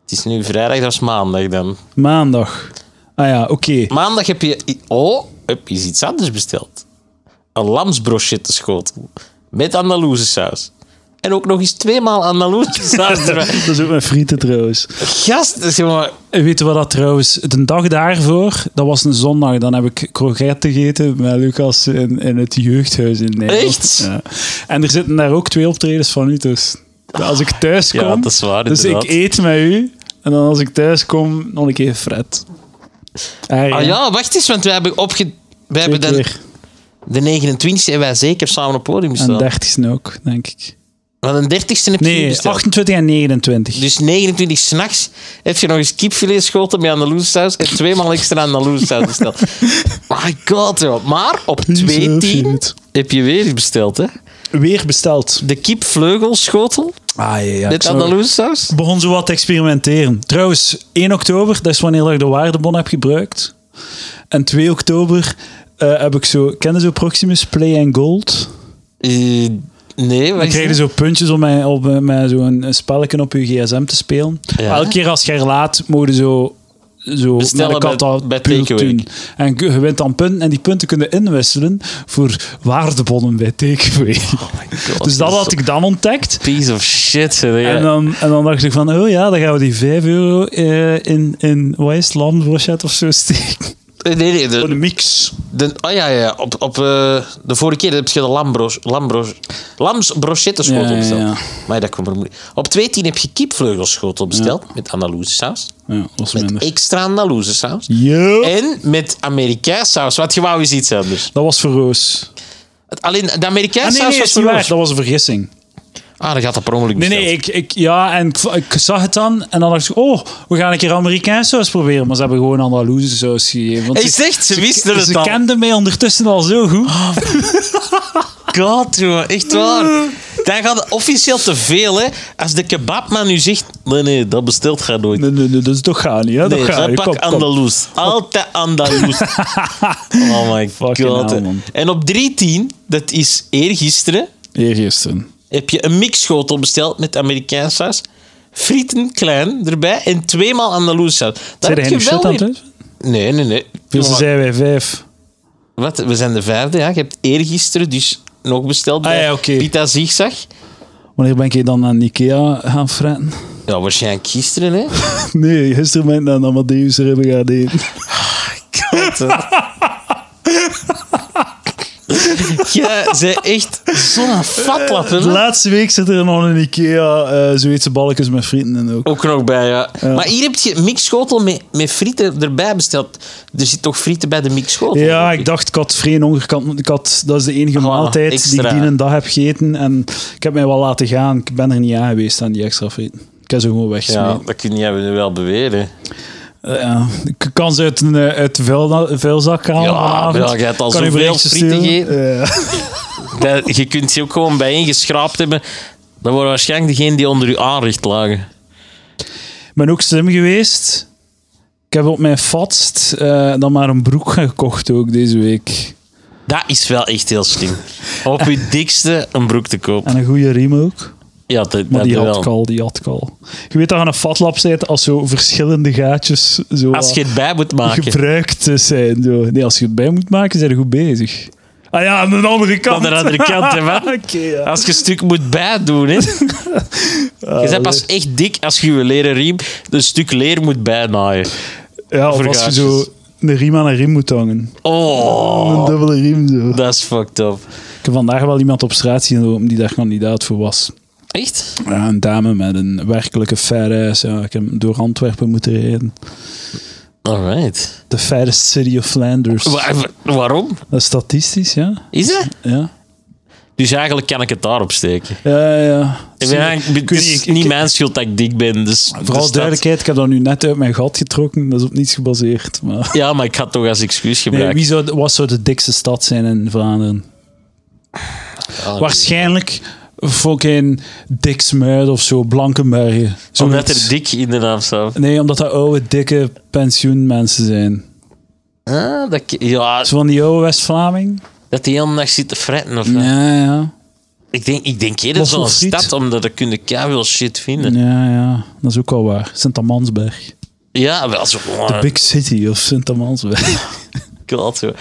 Speaker 5: Het is nu vrijdag, dat is maandag dan.
Speaker 3: Maandag. Ah ja, oké.
Speaker 5: Maandag heb je... i- Oh, heb je iets anders besteld. Een lamsbrochette schotel. Met Andaluzensaus. En ook nog eens tweemaal Andaluzensaus erbij.
Speaker 3: Dat is ook mijn frieten trouwens.
Speaker 5: Gast, dat is gewoon...
Speaker 3: En Weet je wat dat trouwens? De dag daarvoor, dat was een zondag, dan heb ik kroketten gegeten met Lucas in, in het jeugdhuis in Nederland.
Speaker 5: Echt?
Speaker 3: Ja. En er zitten daar ook twee optredens van u, dus als ik thuis kom...
Speaker 5: Ja, dat is waar,
Speaker 3: Dus ik
Speaker 5: inderdaad.
Speaker 3: eet met u, en dan als ik thuis kom, nog een keer Fred. Ah ja,
Speaker 5: Ah ja, wacht eens, want wij hebben opge... Wij
Speaker 3: twee
Speaker 5: hebben dan
Speaker 3: keer.
Speaker 5: de 29e en wij zeker samen op podium
Speaker 3: En
Speaker 5: staan.
Speaker 3: 30 ook, denk ik.
Speaker 5: Want de 30e heb je niet
Speaker 3: Nee,
Speaker 5: besteld.
Speaker 3: 28 en 29.
Speaker 5: Dus 29 s'nachts heb je nog eens kipfilet schoten met Andalusensaus en tweemaal extra Andalusensaus besteld. My god, joh. Maar op
Speaker 3: Zo
Speaker 5: 210
Speaker 3: shit.
Speaker 5: heb je weer iets besteld, hè?
Speaker 3: Weer besteld.
Speaker 5: De kipvleugelschotel
Speaker 3: Ah ja, ja.
Speaker 5: met Andalusensaus.
Speaker 3: Ik begon zo wat te experimenteren. Trouwens, 1 oktober, dat is wanneer dat ik de waardebon heb gebruikt. En 2 oktober eh, heb ik zo... Kennen zo Proximus Play and Gold?
Speaker 5: Eh, nee, wat
Speaker 3: Dan krijg
Speaker 5: is
Speaker 3: je
Speaker 5: dat?
Speaker 3: zo puntjes om mij, op, eh, met zo'n een spelletje op je gsm te spelen.
Speaker 5: Ja.
Speaker 3: Elke keer als je er laat, mogen zo... Zo,
Speaker 5: Bestellen
Speaker 3: met de kat
Speaker 5: bij-
Speaker 3: al
Speaker 5: bij
Speaker 3: pult
Speaker 5: Takeaway.
Speaker 3: doen. En je je wint dan punten. En die punten kunnen inwisselen voor waardebonnen bij Takeaway.
Speaker 5: Oh God,
Speaker 3: dus dat
Speaker 5: is
Speaker 3: had
Speaker 5: zo'n
Speaker 3: ik dan ontdekt.
Speaker 5: Piece of shit, zeg jij.
Speaker 3: En dan, en dan dacht ik van, oh ja, dan gaan we die 5 euro eh, in, in wat is het, lambrochet of zo steken.
Speaker 5: Eh, Nee, nee, de,
Speaker 3: Een mix.
Speaker 5: de- oh ja, ja, op, op, eh, de vorige keer heb je de lambros, lambros, lamsbrochettenschotel
Speaker 3: Ja, ja,
Speaker 5: besteld.
Speaker 3: ja.
Speaker 5: Maar dat komt er moeilijk. Op 210 heb je kipvleugelschotel besteld met Andalusensaus.
Speaker 3: Ja, dat was
Speaker 5: Met
Speaker 3: minder.
Speaker 5: extra Andalusensaus.
Speaker 3: Yo.
Speaker 5: En met Amerikaansaus. Wat je wou is iets anders.
Speaker 3: Dat was voor Roos.
Speaker 5: Alleen de
Speaker 3: Ah, nee,
Speaker 5: Amerikaansaus
Speaker 3: nee,
Speaker 5: was
Speaker 3: is
Speaker 5: voor
Speaker 3: niet waar.
Speaker 5: ons.
Speaker 3: Dat was een vergissing.
Speaker 5: Ah, dan gaat dat per ongeluk
Speaker 3: Nee,
Speaker 5: besteld.
Speaker 3: nee, ik, ik, ja, en ik, v- ik zag het dan en dan dacht ik, oh, we gaan een keer Amerikaanse saus proberen. Maar ze hebben gewoon Andalusische saus gegeven. Want
Speaker 5: Hij zegt, ze wisten het
Speaker 3: ze
Speaker 5: al.
Speaker 3: kenden mij ondertussen al zo goed.
Speaker 5: God, joh, echt waar. Dan gaat het officieel te veel, hè. Als de kebabman nu zegt... Nee, nee, dat bestelt gaat nooit.
Speaker 3: Nee, nee, nee, dat is toch gaan niet, hè?
Speaker 5: Nee,
Speaker 3: dat gaat
Speaker 5: dat
Speaker 3: niet.
Speaker 5: pak
Speaker 3: Kom, kom.
Speaker 5: Andalus. Altijd Andalus. oh my god.
Speaker 3: Fucking hell,
Speaker 5: hè.
Speaker 3: man.
Speaker 5: en op 310, dat is eergisteren,
Speaker 3: Eergisteren.
Speaker 5: heb je een mixschotel besteld met Amerikaanse saus. Frieten klein erbij en tweemaal Andalus saus.
Speaker 3: Zijn jij nu shit aan het
Speaker 5: weer-
Speaker 3: doen?
Speaker 5: Nee, nee, nee.
Speaker 3: Dus
Speaker 5: Maar-
Speaker 3: zijn wij vijf.
Speaker 5: Wat? We zijn de vijfde, ja. Je hebt eergisteren dus nog besteld
Speaker 3: Ah,
Speaker 5: bij
Speaker 3: ja, oké.
Speaker 5: Pita Zigzag.
Speaker 3: Wanneer ben ik dan aan Ikea gaan fretten?
Speaker 5: Ja, waarschijnlijk gisteren, hè.
Speaker 3: Nee, gisteren ben ik naar Amadeus hebben gaan eten.
Speaker 5: Jij bent echt zo'n fatlap, hè.
Speaker 3: De laatste week zit er nog een Ikea eh Zweedse balkjes met frieten en ook.
Speaker 5: Ook nog bij, ja. Maar hier heb je mixschotel met, met frieten erbij besteld. Er zit toch frieten bij de mixschotel?
Speaker 3: Ja, ik dacht, ik had vreemd honger. Ik had, dat is de enige
Speaker 5: Ah,
Speaker 3: maaltijd die
Speaker 5: extra.
Speaker 3: ik die een dag heb gegeten. En ik heb mij wel laten gaan. Ik ben er niet aan geweest aan die extra frieten. Ik heb ze gewoon
Speaker 5: Ja,
Speaker 3: weggesmeten. Eh,
Speaker 5: dat kun jij nu wel beweren.
Speaker 3: Ja. ik kan ze uit, een, eh, uit de vuil, vuilzak halen
Speaker 5: Ja,
Speaker 3: vanavond.
Speaker 5: ja, jij hebt al
Speaker 3: Kan u
Speaker 5: zoveel
Speaker 3: berichtjes
Speaker 5: frieten
Speaker 3: sturen? Eh,
Speaker 5: Dat, je kunt ze ook gewoon bijeengeschraapt hebben. Dat worden waarschijnlijk degenen die onder je aanrecht lagen.
Speaker 3: ben ook slim geweest. Ik heb op mijn fatst eh, dan maar een broek gekocht ook deze week.
Speaker 5: Dat is wel echt heel slim. Op je dikste een broek te kopen.
Speaker 3: En een goede riem ook.
Speaker 5: Ja, dat,
Speaker 3: Maar
Speaker 5: dat
Speaker 3: die had
Speaker 5: wel.
Speaker 3: ik al, die had ik al. Je weet dat je aan een fatlap zit als zo verschillende gaatjes zo
Speaker 5: Als je het bij moet maken.
Speaker 3: gebruikt zijn. Zo. Nee, als je het bij moet maken, zijn je goed bezig. Ah ja, aan de andere kant.
Speaker 5: Aan de andere kant, hè, man.
Speaker 3: Oké, ja.
Speaker 5: Als je een stuk moet bijdoen, hè. Je
Speaker 3: Ah,
Speaker 5: bent
Speaker 3: dus-
Speaker 5: pas echt dik als je je leren riem een stuk leer moet bijnaaien.
Speaker 3: Ja, of
Speaker 5: Voor
Speaker 3: als je zo
Speaker 5: gaatjes.
Speaker 3: een riem aan een riem moet hangen.
Speaker 5: Oh,
Speaker 3: Een dubbele riem zo.
Speaker 5: dat is fucked up.
Speaker 3: Ik heb vandaag wel iemand op straat zien lopen die daar kandidaat voor was.
Speaker 5: Echt?
Speaker 3: Ja, een dame met een werkelijke fairness. Ja, ik heb hem door Antwerpen moeten rijden.
Speaker 5: Alright.
Speaker 3: The fairest city of Flanders.
Speaker 5: Wa- wa- waarom?
Speaker 3: Dat is statistisch, ja.
Speaker 5: Is dat?
Speaker 3: Ja,
Speaker 5: Dus eigenlijk kan ik het daarop steken.
Speaker 3: ja. ja.
Speaker 5: Ik ben eigenlijk-
Speaker 3: Ik
Speaker 5: het
Speaker 3: weet
Speaker 5: is
Speaker 3: niet, ik-
Speaker 5: niet mijn schuld dat ik dik ben. Dus
Speaker 3: Vooral
Speaker 5: dus dat-
Speaker 3: duidelijkheid, ik heb dat nu net uit mijn gat getrokken. Dat is op niets gebaseerd. Maar...
Speaker 5: Ja, maar ik ga het toch als excuus
Speaker 3: Nee,
Speaker 5: gebruiken.
Speaker 3: wie zou, wat zou de dikste stad zijn in Vlaanderen?
Speaker 5: Ah,
Speaker 3: Waarschijnlijk fucking Diksmuid of zo, Blankenbergen.
Speaker 5: Omdat
Speaker 3: Zoiets.
Speaker 5: er dik in de naam staat.
Speaker 3: Nee, omdat dat oude, dikke pensioenmensen zijn.
Speaker 5: Ah, dat, ik- ja,
Speaker 3: Zo van die oude West-Vlaming.
Speaker 5: dat die hele nacht zit te fretten. Of, wat.
Speaker 3: Ja, ja.
Speaker 5: Ik denk, ik denk eerder
Speaker 3: Mossel
Speaker 5: zo'n
Speaker 3: friet.
Speaker 5: stad, omdat er kunnen veel shit vinden.
Speaker 3: Ja, ja. Dat is ook al waar. Sint-Amansberg.
Speaker 5: Ja, wel zo. oh,
Speaker 3: De Big City of Sint-Amansberg.
Speaker 5: God, zo.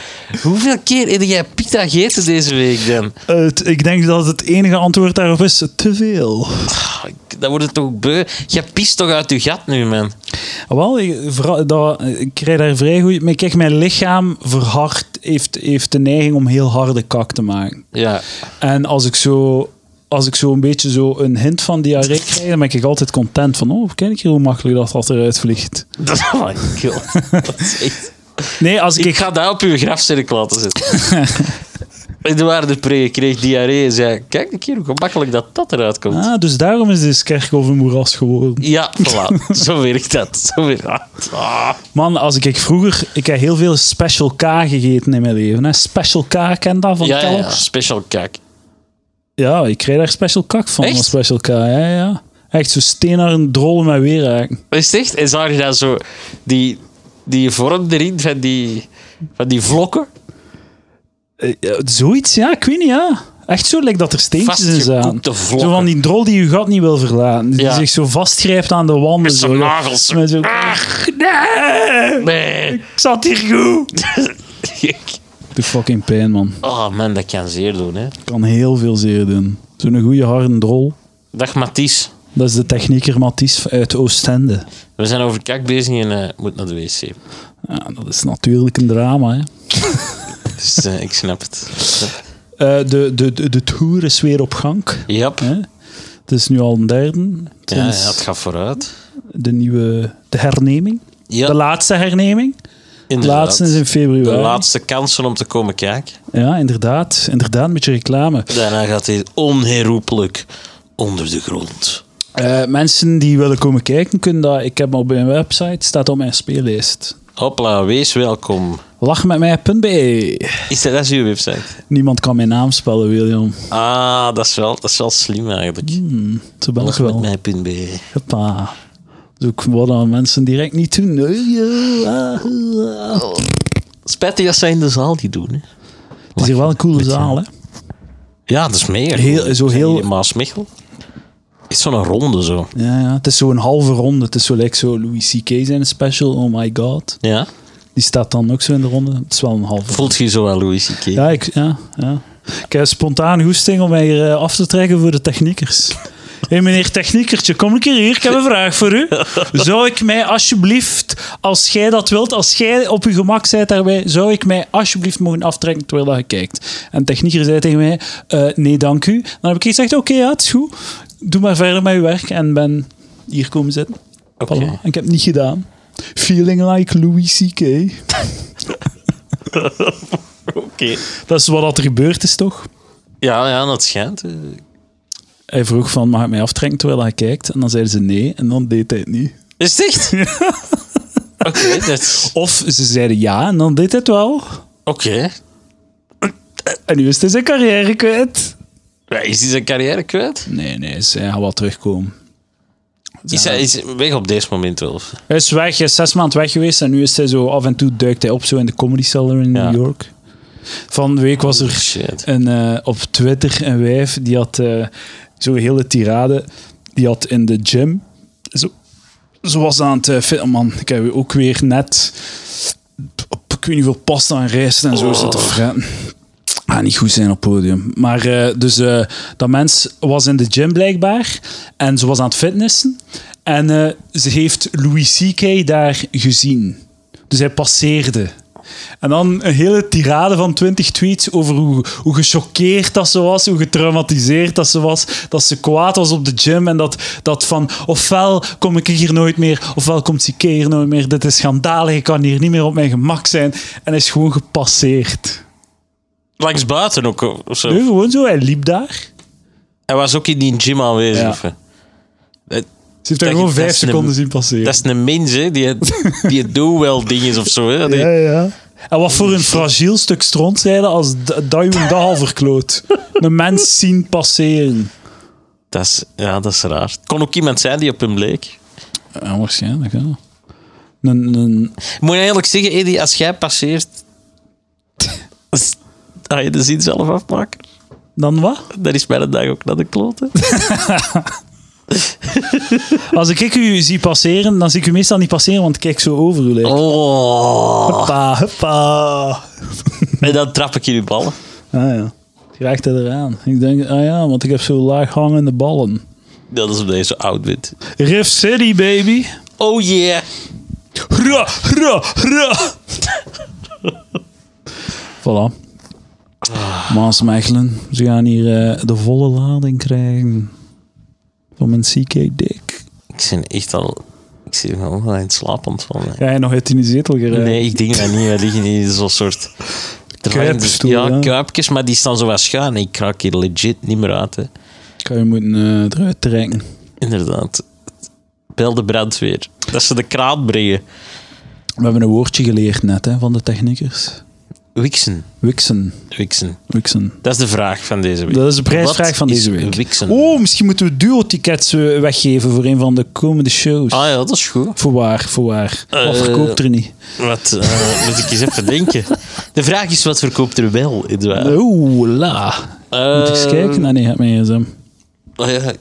Speaker 5: Hoeveel keer heb jij pita gegeten deze week dan?
Speaker 3: Eh, het- ik denk dat het enige antwoord daarop is te veel.
Speaker 5: Ah, ik- Dat wordt het toch beu. Jij pist toch uit je gat nu, man.
Speaker 3: Ah, Wel, ik, vooral- dat, ik krijg daar vrij goed... Maar kijk, mijn lichaam verhard heeft, heeft de neiging om heel harde kak te maken.
Speaker 5: Ja.
Speaker 3: En als ik zo, als ik zo een beetje zo een hint van diarree krijg, dan ben ik altijd content van, oh, kijk hier hoe makkelijk dat, dat eruit vliegt.
Speaker 5: Dat, oh my god. Dat is echt-
Speaker 3: Nee, als ik...
Speaker 5: Ik ga dat op uw grafzerk laten zitten. Edouard de Pre kreeg diarree en zei: Kijk een keer hoe gemakkelijk dat, dat eruit komt.
Speaker 3: Ah, dus daarom is deze kerkhof een moeras geworden.
Speaker 5: Ja, voilà. Zo werkt dat. Zo werkt dat. Ah.
Speaker 3: Man, als ik, ik vroeger... Ik heb heel veel Special K gegeten in mijn leven. Hè. Special K, ken dat van
Speaker 5: Ja, ja, ja,
Speaker 3: Kellogg's?
Speaker 5: special kak.
Speaker 3: Ja, ik krijg daar Special Kak van,
Speaker 5: Echt?
Speaker 3: van Special K. Ja, ja. Echt zo steenarend drollen met weer raken.
Speaker 5: Is het echt? En zag je dan zo die, die vorm erin van die, van die vlokken?
Speaker 3: Eh, ja, zoiets, ja, ik weet niet, ja. Echt zo, lijkt dat er steentjes in zaten.
Speaker 5: Vastgekoekte vlokken.
Speaker 3: Zo van die drol die je gat niet wil verlaten. Die
Speaker 5: Ja.
Speaker 3: zich zo vastgrijpt aan de wanden.
Speaker 5: Met zijn
Speaker 3: zo.
Speaker 5: nagels. Ah,
Speaker 3: Met zo, Ach, nee,
Speaker 5: Nee.
Speaker 3: ik zat hier goed. De fucking pijn, man.
Speaker 5: Oh man, dat kan zeer doen, hè.
Speaker 3: Kan heel veel zeer doen. Zo'n goede harde drol.
Speaker 5: Dag Mathies.
Speaker 3: Dat is de technieker Mathies uit Oostende.
Speaker 5: We zijn over kak bezig en eh, moet naar de wc.
Speaker 3: Ja, dat is natuurlijk een drama, hè.
Speaker 5: Dus eh, ik snap het.
Speaker 3: Eh, de, de, de, de tour is weer op gang.
Speaker 5: Yep.
Speaker 3: Hè? Het is nu al een derde.
Speaker 5: Ja, ja,
Speaker 3: Sinds
Speaker 5: het gaat vooruit.
Speaker 3: de nieuwe... De herneming.
Speaker 5: Ja,
Speaker 3: De laatste herneming. De
Speaker 5: inderdaad.
Speaker 3: laatste is in
Speaker 5: De
Speaker 3: februari.
Speaker 5: laatste kansen om te komen kijken.
Speaker 3: Ja, inderdaad. Inderdaad, een beetje reclame.
Speaker 5: Daarna gaat hij onherroepelijk onder de grond.
Speaker 3: Eh, mensen die willen komen kijken, kunnen dat. Ik heb op mijn website, staat op mijn speellijst.
Speaker 5: Hopla, wees welkom.
Speaker 3: Lachmetmij.be.
Speaker 5: Is dat, dat is uw website?
Speaker 3: Niemand kan mijn naam spellen, William.
Speaker 5: Ah, dat is wel, dat is wel slim eigenlijk.
Speaker 3: Zo ben Hmm, ik
Speaker 5: Lach met
Speaker 3: wel.
Speaker 5: mij, punt B.
Speaker 3: Hoppa. Dus ook wat aan mensen direct niet doen. Nee, ja, ah, ah.
Speaker 5: Spijtig dat zij in de zaal die doen. Hè.
Speaker 3: Het is hier wel een coole zaal, hè?
Speaker 5: Ja, dat is meer.
Speaker 3: Heel- zo heel-
Speaker 5: Maasmechel. Is zo'n ronde zo.
Speaker 3: Ja, ja. Het is zo'n halve ronde. Het is zo like zo Louis C.K. zijn special. Oh my god.
Speaker 5: Ja.
Speaker 3: Die staat dan ook zo in de ronde. Het is wel een halve
Speaker 5: Voelt je je zo aan Louis C.K.?
Speaker 3: Ja, ik, ja, ja. ik heb spontaan goesting om mij hier eh, af te trekken voor de techniekers. Hé meneer techniekertje, kom een keer hier, ik heb een vraag voor u. Zou ik mij alsjeblieft, als jij dat wilt, als jij op uw gemak bent daarbij, zou ik mij alsjeblieft mogen aftrekken terwijl dat je kijkt? En de technieker zei tegen mij, eh, nee dank u. Dan heb ik gezegd, oké ja, het is goed. Doe maar verder met uw werk en ben hier komen zitten.
Speaker 5: Oké.
Speaker 3: Voilà. En ik heb het niet gedaan. Feeling like Louis C.K.
Speaker 5: Oké.
Speaker 3: Dat is wat er gebeurd is, toch?
Speaker 5: Ja, ja, dat schijnt. eh.
Speaker 3: Hij vroeg van, mag ik mij aftrekken terwijl hij kijkt? En dan zeiden ze nee, en dan deed hij het niet.
Speaker 5: Is het echt? Oké, dat is...
Speaker 3: Of ze zeiden ja, en dan deed hij het wel.
Speaker 5: Oké.
Speaker 3: En nu is hij zijn carrière kwijt.
Speaker 5: Ja, Is hij zijn carrière kwijt?
Speaker 3: Nee, nee, ze- hij gaat wel terugkomen.
Speaker 5: Is hij is weg op deze moment wel?
Speaker 3: Hij is weg, hij is zes maanden weg geweest en nu is hij zo af en toe duikt hij op zo in de comedy cellar in
Speaker 5: Ja.
Speaker 3: New York. Van de week was er
Speaker 5: Shit.
Speaker 3: een, eh, op Twitter een wijf die had eh, zo'n hele tirade. Die had in de gym. Zo, zo was aan het eh, fit- oh man. Ik heb ook weer net. Op, ik weet niet hoeveel pasta en rijst en zo
Speaker 5: Oh.
Speaker 3: zitten fretten. Ah, niet goed zijn op het podium. Maar eh, dus eh, dat mens was in de gym blijkbaar. En ze was aan het fitnessen. En eh, ze heeft Louis C.K. daar gezien. Dus hij passeerde. En dan een hele tirade van 20 tweets over hoe, hoe gechoqueerd dat ze was, hoe getraumatiseerd dat ze was, dat ze kwaad was op de gym en dat, dat van ofwel kom ik hier nooit meer, ofwel komt ze hier nooit meer, dit is schandalig, ik kan hier niet meer op mijn gemak zijn. En hij is gewoon gepasseerd.
Speaker 5: Langs buiten ook. Of zo.
Speaker 3: Nee, gewoon zo, hij liep daar.
Speaker 5: Hij was ook in die gym aanwezig.
Speaker 3: Ja.
Speaker 5: of, eh. Dat,
Speaker 3: Ze heeft daar
Speaker 5: Dat-
Speaker 3: gewoon
Speaker 5: dat
Speaker 3: vijf
Speaker 5: is een-
Speaker 3: seconden zien passeren.
Speaker 5: dat is een mens, hè, die het, die het doet wel dingen of zo. Hè, die,
Speaker 3: Ja, ja. En wat voor een fragiel stuk stront zeiden als d- dat je een dag al verkloot. Een mens zien passeren.
Speaker 5: dat is, ja, dat is raar. Het kon ook iemand zijn die op hem leek.
Speaker 3: Ja, waarschijnlijk, ja. Een, een,
Speaker 5: Ik Moet je eerlijk zeggen, Eddie, als jij passeert. ga je de zin zelf afmaken?
Speaker 3: dan wat?
Speaker 5: Dat is bij de dag ook naar de kloten.
Speaker 3: Als ik u zie passeren, dan zie ik u meestal niet passeren, want ik kijk zo over u. lijf.
Speaker 5: Oh.
Speaker 3: Hoppa, hoppa.
Speaker 5: En dan trap ik in je ballen.
Speaker 3: Ah ja. Je raakt hij eraan. Ik denk, ah ja, want ik heb zo laag hangende ballen.
Speaker 5: Dat is omdat je zo oud bent.
Speaker 3: Riff City, baby.
Speaker 5: Oh yeah.
Speaker 3: Hra, hra, hra. voilà. Maas Mechelen, ze gaan hier eh, de volle lading krijgen van mijn CK-dik.
Speaker 5: Ik ben echt al... Ik zit gewoon aan het slapen ontvallen.
Speaker 3: Ga je nog uit in die zetel geraken?
Speaker 5: Nee, ik denk dat niet. Wij liggen in zo'n soort...
Speaker 3: Kruipstoel,
Speaker 5: Ja,
Speaker 3: ja.
Speaker 5: kruipjes, maar die staan zo wat schuin. Ik raak hier legit niet meer uit. Hè.
Speaker 3: Ik ga je moeten eh, eruit trekken.
Speaker 5: Inderdaad. Bel de brandweer. Dat ze de kraan brengen.
Speaker 3: We hebben een woordje geleerd net hè, van de techniekers.
Speaker 5: Wixen.
Speaker 3: Wixen.
Speaker 5: Wixen.
Speaker 3: Wixen.
Speaker 5: Dat is de vraag van deze week.
Speaker 3: Dat is de prijsvraag
Speaker 5: Wat
Speaker 3: van deze
Speaker 5: is
Speaker 3: week.
Speaker 5: Wixen.
Speaker 3: Oh, misschien moeten we duo-tickets eh, weggeven voor een van de komende shows.
Speaker 5: Ah ja, dat is goed.
Speaker 3: Voorwaar, voorwaar.
Speaker 5: Eh,
Speaker 3: Wat verkoopt er niet?
Speaker 5: Wat eh, moet ik eens even denken? De vraag is, wat verkoopt er wel, Edouard?
Speaker 3: Oeh, la.
Speaker 5: Eh,
Speaker 3: Moet ik eens kijken? Ah, nee, heb mijn gsm.
Speaker 5: oh ja, ik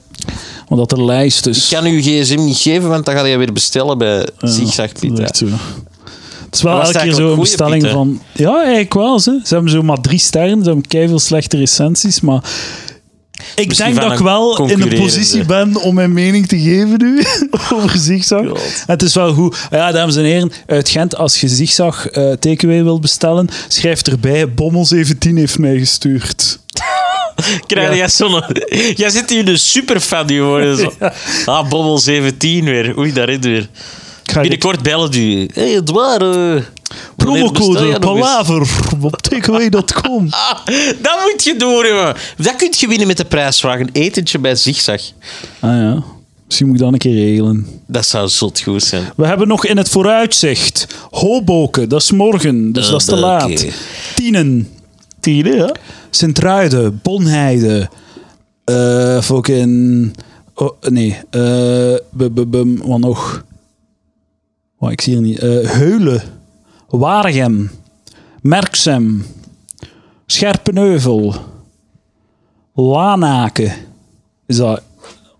Speaker 3: Want dat er lijst is.
Speaker 5: kan uw gsm niet geven, want dan ga je weer bestellen bij
Speaker 3: Ja,
Speaker 5: Zigzag
Speaker 3: dat is
Speaker 5: Pita.
Speaker 3: echt zo. Het is wel
Speaker 5: Dat was
Speaker 3: elke keer
Speaker 5: eigenlijk
Speaker 3: zo'n
Speaker 5: goeie
Speaker 3: bestelling
Speaker 5: Piet, hè?
Speaker 3: van... Ja, eigenlijk wel. Ze, ze hebben zo maar drie sterren. Ze hebben keiveel slechte recensies, maar... Ik
Speaker 5: Misschien
Speaker 3: denk
Speaker 5: van
Speaker 3: dat ik
Speaker 5: een
Speaker 3: wel in de
Speaker 5: concurrerende.
Speaker 3: positie ben om mijn mening te geven nu over Zigzag. En Het is wel goed. Ja, dames en heren, uit Gent, als je Zigzag eh takeaway wilt bestellen, schrijf erbij, Bommel17 heeft mij gestuurd.
Speaker 5: Krijg
Speaker 3: Ja.
Speaker 5: jij zo'n... Jij zit hier een superfan geworden. Zo. Ah, Bobbel 17 weer. Oei, daar is het weer.
Speaker 3: Ik ga je
Speaker 5: Binnenkort bellen die u. Hé, hey, Edouard. eh, wanneer bestel
Speaker 3: promocode
Speaker 5: jij nog eens?
Speaker 3: palaver op takeaway.com.
Speaker 5: Ah, dat moet je doen, jongen. Dat kun je winnen met de prijsvraag. Een etentje bij Zigzag.
Speaker 3: Ah ja, misschien moet ik dat een keer regelen.
Speaker 5: Dat zou zot goed zijn.
Speaker 3: We hebben nog in het vooruitzicht Hoboken, dat is morgen, dus dat is te
Speaker 5: Hoboken.
Speaker 3: laat. Tienen. Tienen, ja. Sint-Truiden, Bonheide, eh fucking... Oh, nee, eh bum, bum, bum, wat nog? Oh, ik zie hier niet. Eh, Heulen, Waregem, Merksem, Scherpenheuvel, Lanaken. Is dat...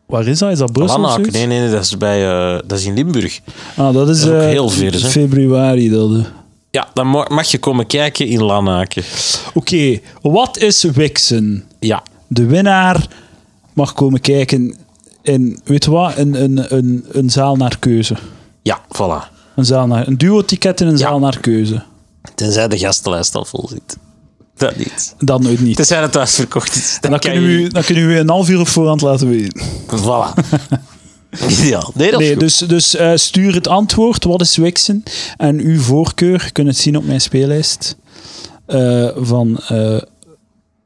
Speaker 3: Waar is dat? Is dat Brussel? of
Speaker 5: Lanaken,
Speaker 3: zoiets?
Speaker 5: nee, nee, nee, dat is, bij, eh, dat is in Limburg.
Speaker 3: Ah, dat is,
Speaker 5: Dat is ook
Speaker 3: eh,
Speaker 5: heel ver, hè?
Speaker 3: februari. dat, hè.
Speaker 5: Ja, dan mo- mag je komen kijken in Lanaken.
Speaker 3: Oké, wat is Wixen?
Speaker 5: Ja.
Speaker 3: De winnaar mag komen kijken in, weet je wat, een, een, een, een zaal naar keuze.
Speaker 5: Ja, voilà.
Speaker 3: Een, zaal naar, een duo-ticket in een zaal naar keuze.
Speaker 5: Tenzij de gastenlijst al vol zit. Dat niet.
Speaker 3: Dan nooit niet.
Speaker 5: Tenzij het uitverkocht is. Dan,
Speaker 3: En dan,
Speaker 5: kan
Speaker 3: kunnen
Speaker 5: je-
Speaker 3: we, dan kunnen we u een half uur op voorhand laten weten.
Speaker 5: Voilà. Ideaal. Nee, dat is
Speaker 3: Nee,
Speaker 5: goed.
Speaker 3: dus dus eh, stuur het antwoord, wat is Wixen? En uw voorkeur, je kunt het zien op mijn speellijst. eh, van, eh,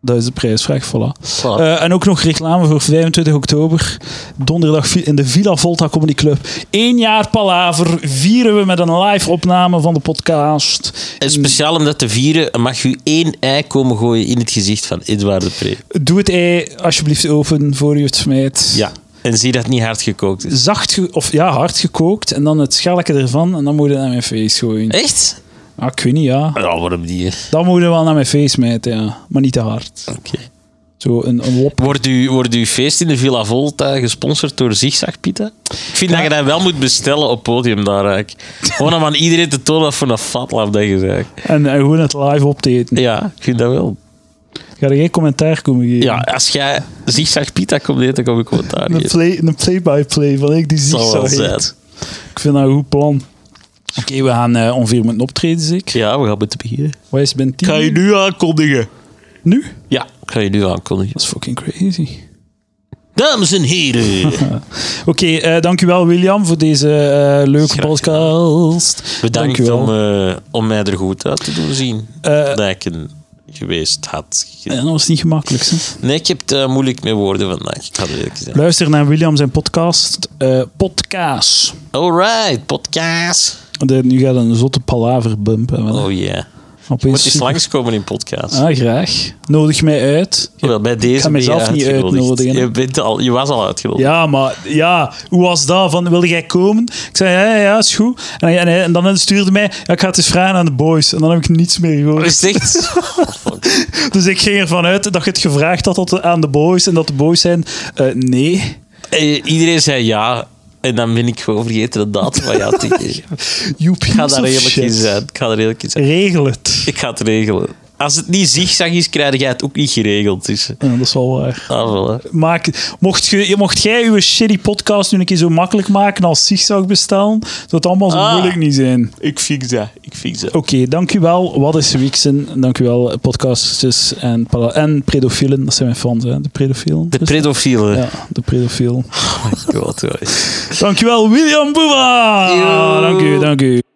Speaker 3: dat is de prijsvraag, voilà.
Speaker 5: Voilà.
Speaker 3: Eh, en ook nog reclame voor 25 oktober. Donderdag vi- in de Villa Volta Comedy Club. Eén jaar palaver vieren we met een live opname van de podcast. Mm,
Speaker 5: En speciaal om dat te vieren, mag u één ei komen gooien in het gezicht van Edouard de Pre.
Speaker 3: Doe het ei alsjeblieft open voor u het smijt.
Speaker 5: Ja. En zie dat het niet hard gekookt is.
Speaker 3: zacht ge- of ja, hard gekookt en dan het schelletje ervan en dan moet je dat naar mijn face gooien.
Speaker 5: Echt?
Speaker 3: Ah, ik weet niet, ja.
Speaker 5: Ja, waarom niet?
Speaker 3: Dat moet je wel naar mijn face mijten, ja. Maar niet te hard.
Speaker 5: Oké.
Speaker 3: Zo een, een wop.
Speaker 5: Wordt, uw, wordt uw feest in de Villa Volta gesponsord door Zigzag Pita? Ik vind dat je dat wel moet bestellen op podium daar. eigenlijk. Gewoon om aan iedereen te tonen wat voor een fatlap dat je bent.
Speaker 3: En, en gewoon het live op te eten.
Speaker 5: Ja, ik vind dat wel.
Speaker 3: Ga er geen commentaar komen geven.
Speaker 5: Ja, als jij Zigzag Pita komt eten, dan kom ik commentaar
Speaker 3: Een
Speaker 5: geven.
Speaker 3: play- een play-by-play van ik die
Speaker 5: Dat
Speaker 3: zie
Speaker 5: zal
Speaker 3: zo
Speaker 5: wel
Speaker 3: heet.
Speaker 5: zijn.
Speaker 3: Ik vind dat een goed plan. Oké, we gaan eh, ongeveer moeten optreden, zeker.
Speaker 5: Ja, we gaan met beginnen.
Speaker 3: Wat is Ben 10?
Speaker 5: nu aankondigen?
Speaker 3: nu?
Speaker 5: Ja, ik ga je nu aankondigen.
Speaker 3: Dat is fucking crazy.
Speaker 5: Dames en heren,
Speaker 3: Oké, eh, dankjewel William voor deze eh, leuke
Speaker 5: Graag
Speaker 3: podcast.
Speaker 5: bedankt
Speaker 3: Dankjewel.
Speaker 5: om, eh, om mij er goed uit te doen zien.
Speaker 3: Eh,
Speaker 5: dat ik een geweest had.
Speaker 3: Ja, dat was niet gemakkelijk, hè?
Speaker 5: Nee, ik heb het eh, moeilijk met woorden vandaag. Ik ga het eerlijk zijn.
Speaker 3: Luister naar William zijn podcast. eh podcast.
Speaker 5: Alright, podcast.
Speaker 3: De- nu gaat een zotte palaver bump hebben. hè.
Speaker 5: Oh yeah.
Speaker 3: Opeens
Speaker 5: Moet eens
Speaker 3: super-
Speaker 5: langskomen in podcast.
Speaker 3: Ah, graag. Nodig mij uit.
Speaker 5: Wel, bij deze
Speaker 3: ga
Speaker 5: ben je
Speaker 3: mezelf niet
Speaker 5: uitgenodigd.
Speaker 3: uitnodigen, hè.
Speaker 5: Je, bent al, je was al uitgenodigd.
Speaker 3: Ja, maar ja, hoe was dat? Van, wil jij komen? Ik zei, ja, ja, ja, is goed. En, hij- en, hij- en dan stuurde hij mij, ja, ik ga het eens vragen aan de boys. En dan heb ik niets meer
Speaker 5: Dat
Speaker 3: gehoord.
Speaker 5: Is het echt?
Speaker 3: Dus ik ging ervan uit dat je het gevraagd had tot- aan de boys. En dat de boys zijn, eh, nee.
Speaker 5: Eh, iedereen zei ja. En dan ben ik gewoon vergeten de datum van ja te geven.
Speaker 3: Joep,
Speaker 5: Ik ga daar eerlijk in zijn. Ik ga daar eerlijk in zijn.
Speaker 3: Regel het.
Speaker 5: Ik ga het regelen. Als het niet zigzag is, krijg jij het ook niet geregeld. Dus, eh,
Speaker 3: Ja, dat is wel waar.
Speaker 5: ah, voilà.
Speaker 3: Maak, mocht, je, mocht jij uw shitty podcast nu een keer zo makkelijk maken als zigzag bestellen, zou het allemaal zo
Speaker 5: Ah.
Speaker 3: moeilijk niet zijn.
Speaker 5: Ik fix dat. Ik fix dat.
Speaker 3: Oké, dankjewel. Wat is Wieksen? Dankjewel, podcasters en, pala- en predofielen. Dat zijn mijn fans, hè? de predofielen.
Speaker 5: De
Speaker 3: Dus-
Speaker 5: pedofielen.
Speaker 3: ja, de predofiel.
Speaker 5: God, hoor.
Speaker 3: Dankjewel, William Boeva!
Speaker 5: Yo.
Speaker 3: Dank u, dank u.